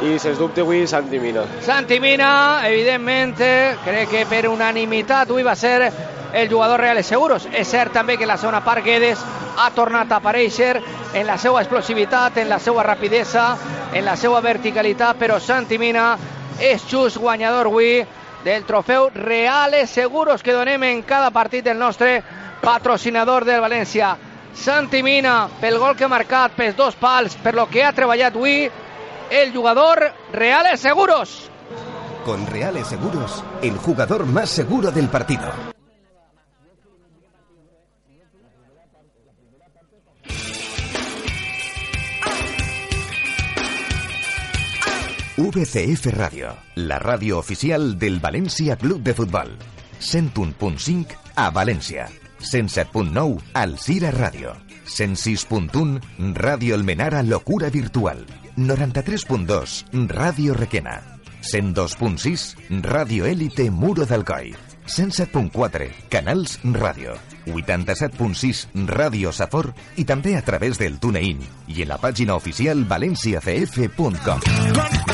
S5: i, sens dubte, avui Santimina.
S2: Santi Mina, evidentment, eh, crec que per unanimitat avui va ser el jugador Reales Seguros. És cert també que la segona part Guedes ha tornat a aparèixer en la seva explosivitat, en la seva rapidesa, en la seva verticalitat, però Santi Mina és just guanyador avui del trofeu Reales Seguros que donem en cada partit del nostre patrocinador del València. Santi Mina, pel gol que ha marcat, pels dos pals, per lo que ha treballat avui, el jugador Reales Seguros.
S8: Con Reales Seguros, el jugador más seguro del partido. VCF Radio, la radio oficial del Valencia Club de Futbol. 101.5 a València. 107.9 al Cira Ràdio. 106.1 Ràdio Almenara Locura Virtual. 93.2 Ràdio Requena. 102.6 Ràdio Élite Muro d'Alcoi. 107.4 Canals Ràdio. 87.6 Ràdio Safor i també a través del TuneIn i en la pàgina oficial valenciacf.com.